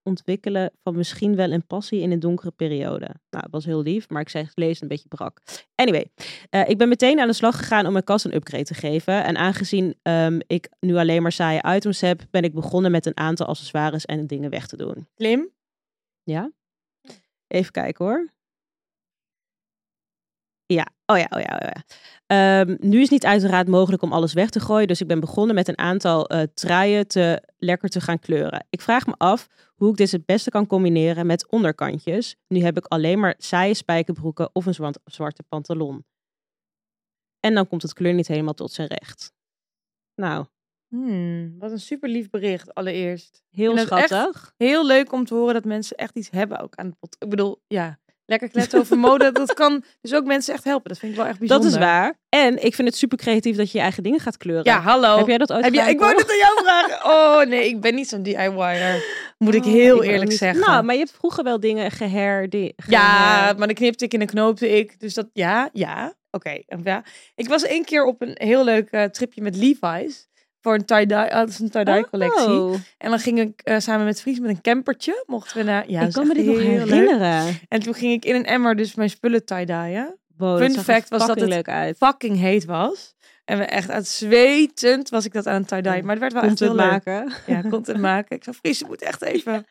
B: ontwikkelen van misschien wel een passie in een donkere periode. Nou, het was heel lief, maar ik zeg lees een beetje brak. Anyway, eh, ik ben meteen aan de slag gegaan om mijn kast een upgrade te geven. En aangezien ehm, ik nu alleen maar saaie items heb, ben ik begonnen met een aantal accessoires en dingen weg te doen.
A: Slim.
B: Even kijken hoor. Ja, oh ja, oh ja, oh ja. Ehm, nu is niet uiteraard mogelijk om alles weg te gooien, dus ik ben begonnen met een aantal eh truien te lekker te gaan kleuren. Ik vraag me af hoe ik dit het beste kan combineren met onderkantjes. Nu heb ik alleen maar saaie spijkerbroeken of een zwart- zwarte pantalon. En dan komt het kleur niet helemaal tot zijn recht. Nou,
A: Hmm, wat een super lief bericht allereerst.
B: heel
A: En dat echt-
B: schattig.
A: heel leuk om te horen dat mensen echt iets hebben ook aan de pot. Ik bedoel, ja, lekker kletsen over mode, dat kan dus ook mensen echt helpen. Dat vind ik wel echt
B: Dat
A: bijzonder.
B: is waar. En ik vind het super creatief dat je je eigen dingen gaat kleuren.
A: Ja, hallo.
B: Heb jij dat ooit
A: Heb jij-
B: gedaan,
A: ik wou
B: Cor?
A: het aan jou vragen. Oh nee, ik ben niet zo'n DIY'er. Moet ik
B: Oh,
A: heel
B: ben ook
A: eerlijk
B: niet-
A: zeggen.
B: Nou, maar je hebt vroeger wel dingen geher... Die,
A: Ja,
B: geher-
A: maar dan knipte ik en dan knoopte ik. Dus dat, ja, ja. Oké, ja. Ik was één keer op een heel leuk eh, tripje met Levi's. Voor een tie-dye, hadden ze een tie-dye collectie.
B: Oh,
A: En dan ging ik eh, samen met Fries met een campertje. Mochten we naar... Ja, dat
B: ik
A: is
B: kan me
A: echt
B: dit nog
A: heel leuk.
B: herinneren.
A: En toen ging ik in een emmer dus mijn spullen tie-dyen.
B: Wow,
A: Fun
B: dat zag er
A: fact was dat
B: fucking
A: het-
B: leuk uit.
A: Fucking heet was. En we echt aan het zwetend was ik dat aan het tie-dye. Maar het werd wel echt
B: Komt
A: heel
B: het
A: leuk.
B: maken.
A: Ja, content maken. Ik zou Fries, je moet echt even.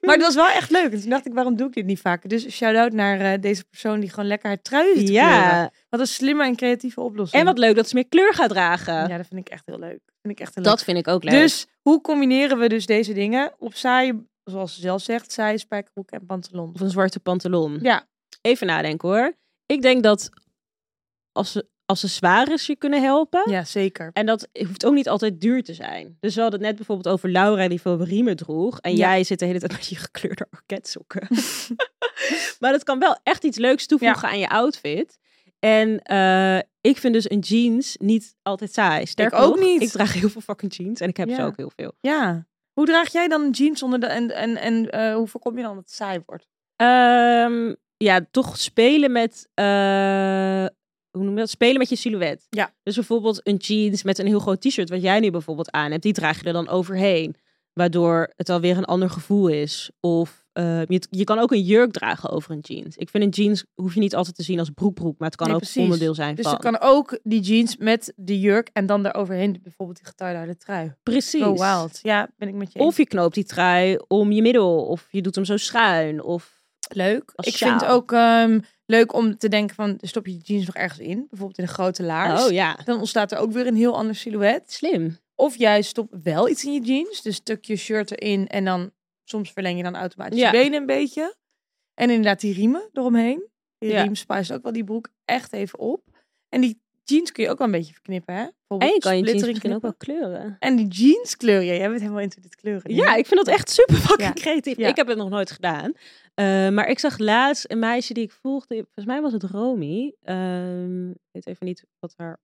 A: Maar het was wel echt leuk. En toen dacht ik, waarom doe ik dit niet vaker? Dus shout-out naar eh, deze persoon die gewoon lekker haar trui zit te kleuren.
B: Ja,
A: Wat een slimme en creatieve oplossing.
B: en wat leuk dat ze meer kleur gaat dragen.
A: Ja, dat vind ik echt heel leuk. Vind ik echt heel
B: dat vind ik ook
A: leuk.
B: leuk.
A: Dus hoe combineren we dus deze dingen? Op saaie, zoals ze zelf zegt, saaie spijkerbroek en pantalon.
B: Of een zwarte pantalon.
A: Ja.
B: Even nadenken hoor. Ik denk dat als accessoires je kunnen helpen.
A: Ja, zeker.
B: En dat hoeft ook niet altijd duur te zijn. Dus we hadden het net bijvoorbeeld over Laura die veel riemen droeg. En
A: Ja.
B: jij zit de hele tijd met je gekleurde orketsokken. maar dat kan wel echt iets leuks toevoegen aan je outfit. En eh, ik vind dus een jeans niet altijd saai. Sterker
A: ook
B: nog,
A: niet.
B: Ik draag heel veel fucking jeans en ik heb ze
A: Ja.
B: ook heel veel.
A: Ja. Hoe draag jij dan een jeans zonder de, en, en, en eh, hoe voorkom je dan dat het saai wordt?
B: Ehm, ja, toch spelen met. eh, hoe noem je dat? Spelen met je silhouet.
A: Ja.
B: Dus bijvoorbeeld een jeans met een heel groot t-shirt, wat jij nu bijvoorbeeld aan hebt, die draag je er dan overheen. Waardoor het alweer een ander gevoel is. Of eh, je, je kan ook een jurk dragen over een jeans. Ik vind een jeans hoef je niet altijd te zien als broekbroek, maar het kan
A: Nee,
B: ook
A: precies.
B: onderdeel zijn
A: Dus
B: van.
A: dan kan ook die jeans met de jurk en dan daaroverheen bijvoorbeeld die getuide trui.
B: Precies.
A: Go wild. Ja, ben ik met je
B: Of je knoopt die trui om je middel, of je doet hem zo schuin, of
A: leuk.
B: als
A: Ik
B: sjaal.
A: vind ook ehm, leuk om te denken van stop je jeans nog ergens in, bijvoorbeeld in een grote laars.
B: oh ja,
A: Dan ontstaat er ook weer een heel ander silhouet.
B: slim.
A: Of juist stop wel iets in je jeans, dus stuk je shirt erin en dan soms verleng je dan automatisch
B: Ja.
A: je benen een beetje. En inderdaad die riemen eromheen. Die
B: Ja.
A: riem spuist ook wel die broek echt even op. En die jeans kun je ook wel een beetje verknippen, hè?
B: En
A: Bijvoorbeeld
B: je kan je jeans
A: splittering
B: misschien ook wel
A: Oh, knippen.
B: kleuren.
A: En die jeanskleur, ja, jij bent helemaal into dit kleuren.
B: Ja, ik vind dat echt super fucking
A: Ja.
B: creatief.
A: Ja.
B: Ik heb het nog nooit gedaan. Eh, maar ik zag laatst een meisje die ik volgde. Volgens mij was het Romy. Ehm, ik weet even niet wat haar...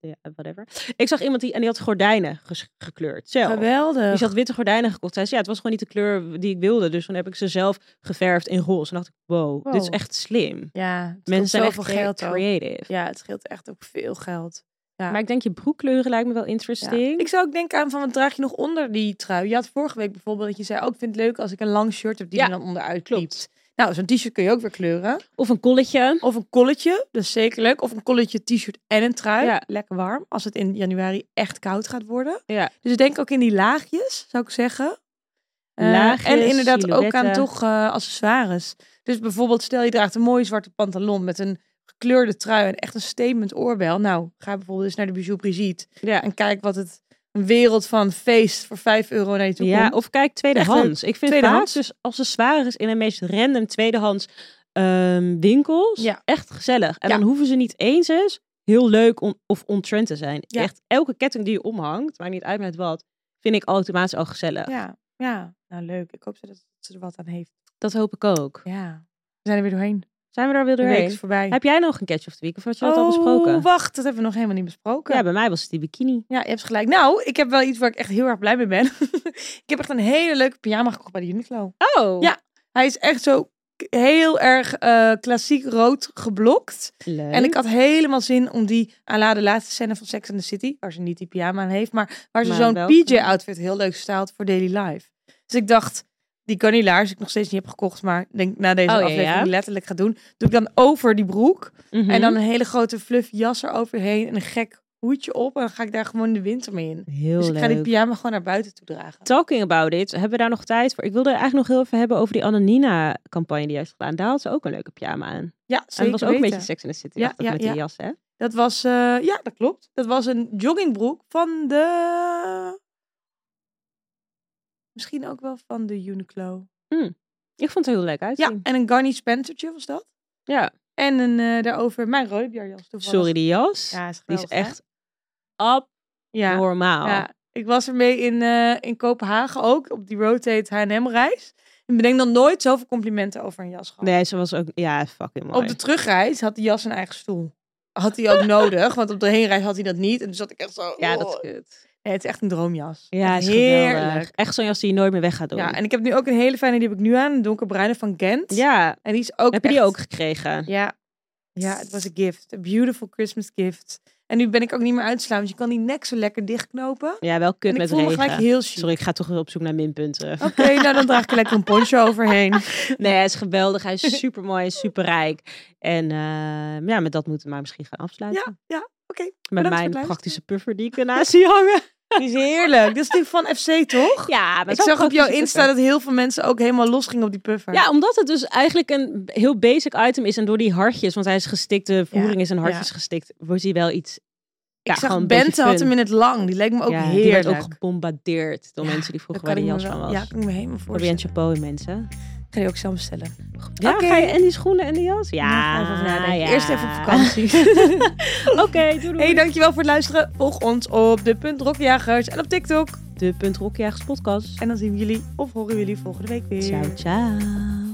B: Ja, whatever. Ik zag iemand die... En die had gordijnen ges- gekleurd zelf.
A: Ah, Geweldig.
B: Die had witte gordijnen gekocht. Hij zei, ja, het was gewoon niet de kleur die ik wilde. Dus dan heb ik ze zelf geverfd in roze. En dacht ik, wow, dit is
A: Wow.
B: echt slim.
A: Ja, het
B: Mensen zijn
A: scheelt
B: echt
A: zoveel
B: crea-
A: geld ook.
B: creative.
A: Ja, het scheelt echt ook veel geld. Ja.
B: Maar ik denk, je broekkleuren lijkt me wel
A: Ja.
B: interesting.
A: Ik zou ook denken aan van wat draag je nog oh, onder die trui? Je had vorige week bijvoorbeeld dat je zei, ook ik vind het leuk als ik een lang shirt heb die
B: Ja,
A: me dan onderuit
B: klopt.
A: klopt. Nou, zo'n t-shirt kun je ook weer kleuren.
B: Of een kolletje.
A: Of een kolletje, dus zeker leuk. Of een kolletje, t-shirt en een trui.
B: Ja.
A: Lekker warm, als het in januari echt koud gaat worden.
B: Ja.
A: Dus ik denk ook in die laagjes, zou ik zeggen. Eh,
B: Laagjes,
A: en inderdaad ook aan
B: silhouetten.
A: toch eh, accessoires. Dus bijvoorbeeld, stel je draagt een mooie zwarte pantalon met een gekleurde trui en echt een statement oorbel. Nou, ga bijvoorbeeld eens naar de Bijou Brigitte
B: Ja.
A: en kijk wat het een wereld van feest voor 5 euro naar je toe
B: Ja,
A: komt.
B: of kijk tweedehands. Ik vind
A: tweedehands.
B: vaak dus accessoires in de meest random tweedehands ehm, winkels
A: Ja.
B: echt gezellig. En
A: Ja.
B: dan hoeven ze niet eens eens heel leuk on- of ontrend te zijn.
A: Ja.
B: Echt elke ketting die je omhangt, maakt niet uit met wat, vind ik automatisch al gezellig.
A: ja, ja, nou leuk. Ik hoop dat ze er wat aan heeft.
B: Dat hoop ik ook.
A: Ja, we zijn er weer doorheen.
B: Zijn we daar weer
A: De week
B: doorheen?
A: is voorbij.
B: Heb jij nog een catch of the week of had je dat al besproken?
A: Oh, wacht, dat hebben we nog helemaal niet besproken.
B: Ja, bij mij was het die bikini.
A: Ja, je hebt gelijk. Nou, ik heb wel iets waar ik echt heel erg blij mee ben. ik heb echt een hele leuke pyjama gekocht bij de Uniqlo.
B: Oh,
A: Ja. Hij is echt zo k- heel erg eh, klassiek rood geblokt.
B: leuk.
A: En ik had helemaal zin om die à la de laatste scène van Sex and the City, waar ze niet die pyjama aan heeft, maar waar ze
B: Maar
A: zo'n
B: wel-
A: PJ-outfit heel leuk staat voor daily life. Dus ik dacht, die kanilaars, die ik nog steeds niet heb gekocht, maar denk na deze
B: Oh, ja,
A: aflevering
B: ja.
A: letterlijk ga doen, doe ik dan over die broek.
B: Mhm.
A: En dan een hele grote fluff jas eroverheen en een gek hoedje op. En dan ga ik daar gewoon de winter mee in.
B: Mhm. heel
A: dus ik ga die
B: leuk.
A: pyjama gewoon naar buiten toe dragen.
B: Talking about it, hebben we daar nog tijd voor? Ik wilde eigenlijk nog heel even hebben over die Ananina-campagne die jij hebt gedaan. Daar had ze ook een leuke pyjama aan.
A: Ja,
B: En
A: zeker
B: het was ook een
A: weten.
B: beetje Sex in the City
A: Ja,
B: dacht ik,
A: ja,
B: met
A: ja.
B: die jas, hè?
A: Dat was, eh, ja, dat klopt. Dat was een joggingbroek van de... Misschien ook wel van de Uniqlo.
B: Ik vond het er heel leuk
A: Ja,
B: uitzien.
A: en een Garni Spencertje was dat.
B: Ja.
A: En een eh, daarover mijn rode bierjas toevallig.
B: Sorry, die jas.
A: Ja, is
B: die is
A: geweldig, hè?
B: echt
A: Ja.
B: abnormaal.
A: Ja, ik was ermee in, eh, in Kopenhagen ook, op die Rotate H&M-reis. En bedenk dan nooit zoveel complimenten over een jas gehad.
B: Nee, ze was ook... Ja, fucking mooi.
A: Op de terugreis had die jas een eigen stoel. Had hij ook nodig, want op de heenreis had hij dat niet. En toen zat ik echt zo...
B: Ja, dat is
A: oh.
B: kut.
A: Nee, het is echt een droomjas.
B: Ja,
A: Echt
B: is geweldig. Echt zo'n jas die je nooit meer weg gaat doen.
A: Ja, en ik heb nu ook een hele fijne, die heb ik nu aan. Een donkerbruine van Gent.
B: Ja,
A: En die is ook
B: heb je die
A: echt-
B: ook gekregen?
A: Ja. Ja, het was een gift. A beautiful Christmas gift. En nu ben ik ook niet meer uitslaan, want je kan die nek zo lekker dichtknopen.
B: Ja, wel kut
A: en ik
B: met
A: voel me
B: regen.
A: gelijk heel chic.
B: Sorry, ik ga toch weer op zoek naar minpunten.
A: Oké, nou dan draag ik er lekker een poncho overheen.
B: Nee, hij is geweldig. Hij is super mooi, super rijk. En eh, ja, met dat moeten we maar misschien gaan afsluiten.
A: Ja, ja, oké.
B: met
A: voor het
B: mijn
A: luisteren.
B: praktische puffer die ik ernaast zie hangen.
A: Die is heerlijk. Dat is die van FC, toch?
B: Ja, maar
A: ik
B: zo'n
A: zag op jouw
B: praktische
A: Insta
B: puffer.
A: dat heel veel mensen ook helemaal los gingen op die puffer.
B: Ja, omdat het dus eigenlijk een b- heel basic item is. En door die hartjes, want hij is gestikt, de voering is in hartjes gestikt, wordt hij wel iets... Ja,
A: ik
B: gewoon
A: zag
B: een beetje
A: Bente had
B: fun.
A: hem in het lang. Die leek me ook
B: ja, die
A: heerlijk.
B: werd ook gebombardeerd door
A: Ja,
B: mensen die
A: Dat
B: vroeger waar die
A: ik me
B: jas van
A: wel-
B: was.
A: Ja, kan ik me helemaal
B: Orient
A: voorstellen.
B: chapeau in mensen.
A: Ik ga die ook zelf bestellen.
B: Ja,
A: Oké.
B: ga je- en die schoenen en die jas?
A: Ja,
B: Ja, nou
A: even over nadenken.
B: ja.
A: Eerst even op vakantie.
B: Oké, doei doei.
A: hey, dankjewel voor het luisteren. Volg ons op de Punt Rockjagers en op TikTok.
B: De Punt Rockjagers podcast.
A: En dan zien we jullie of horen we jullie volgende week weer.
B: Ciao, ciao.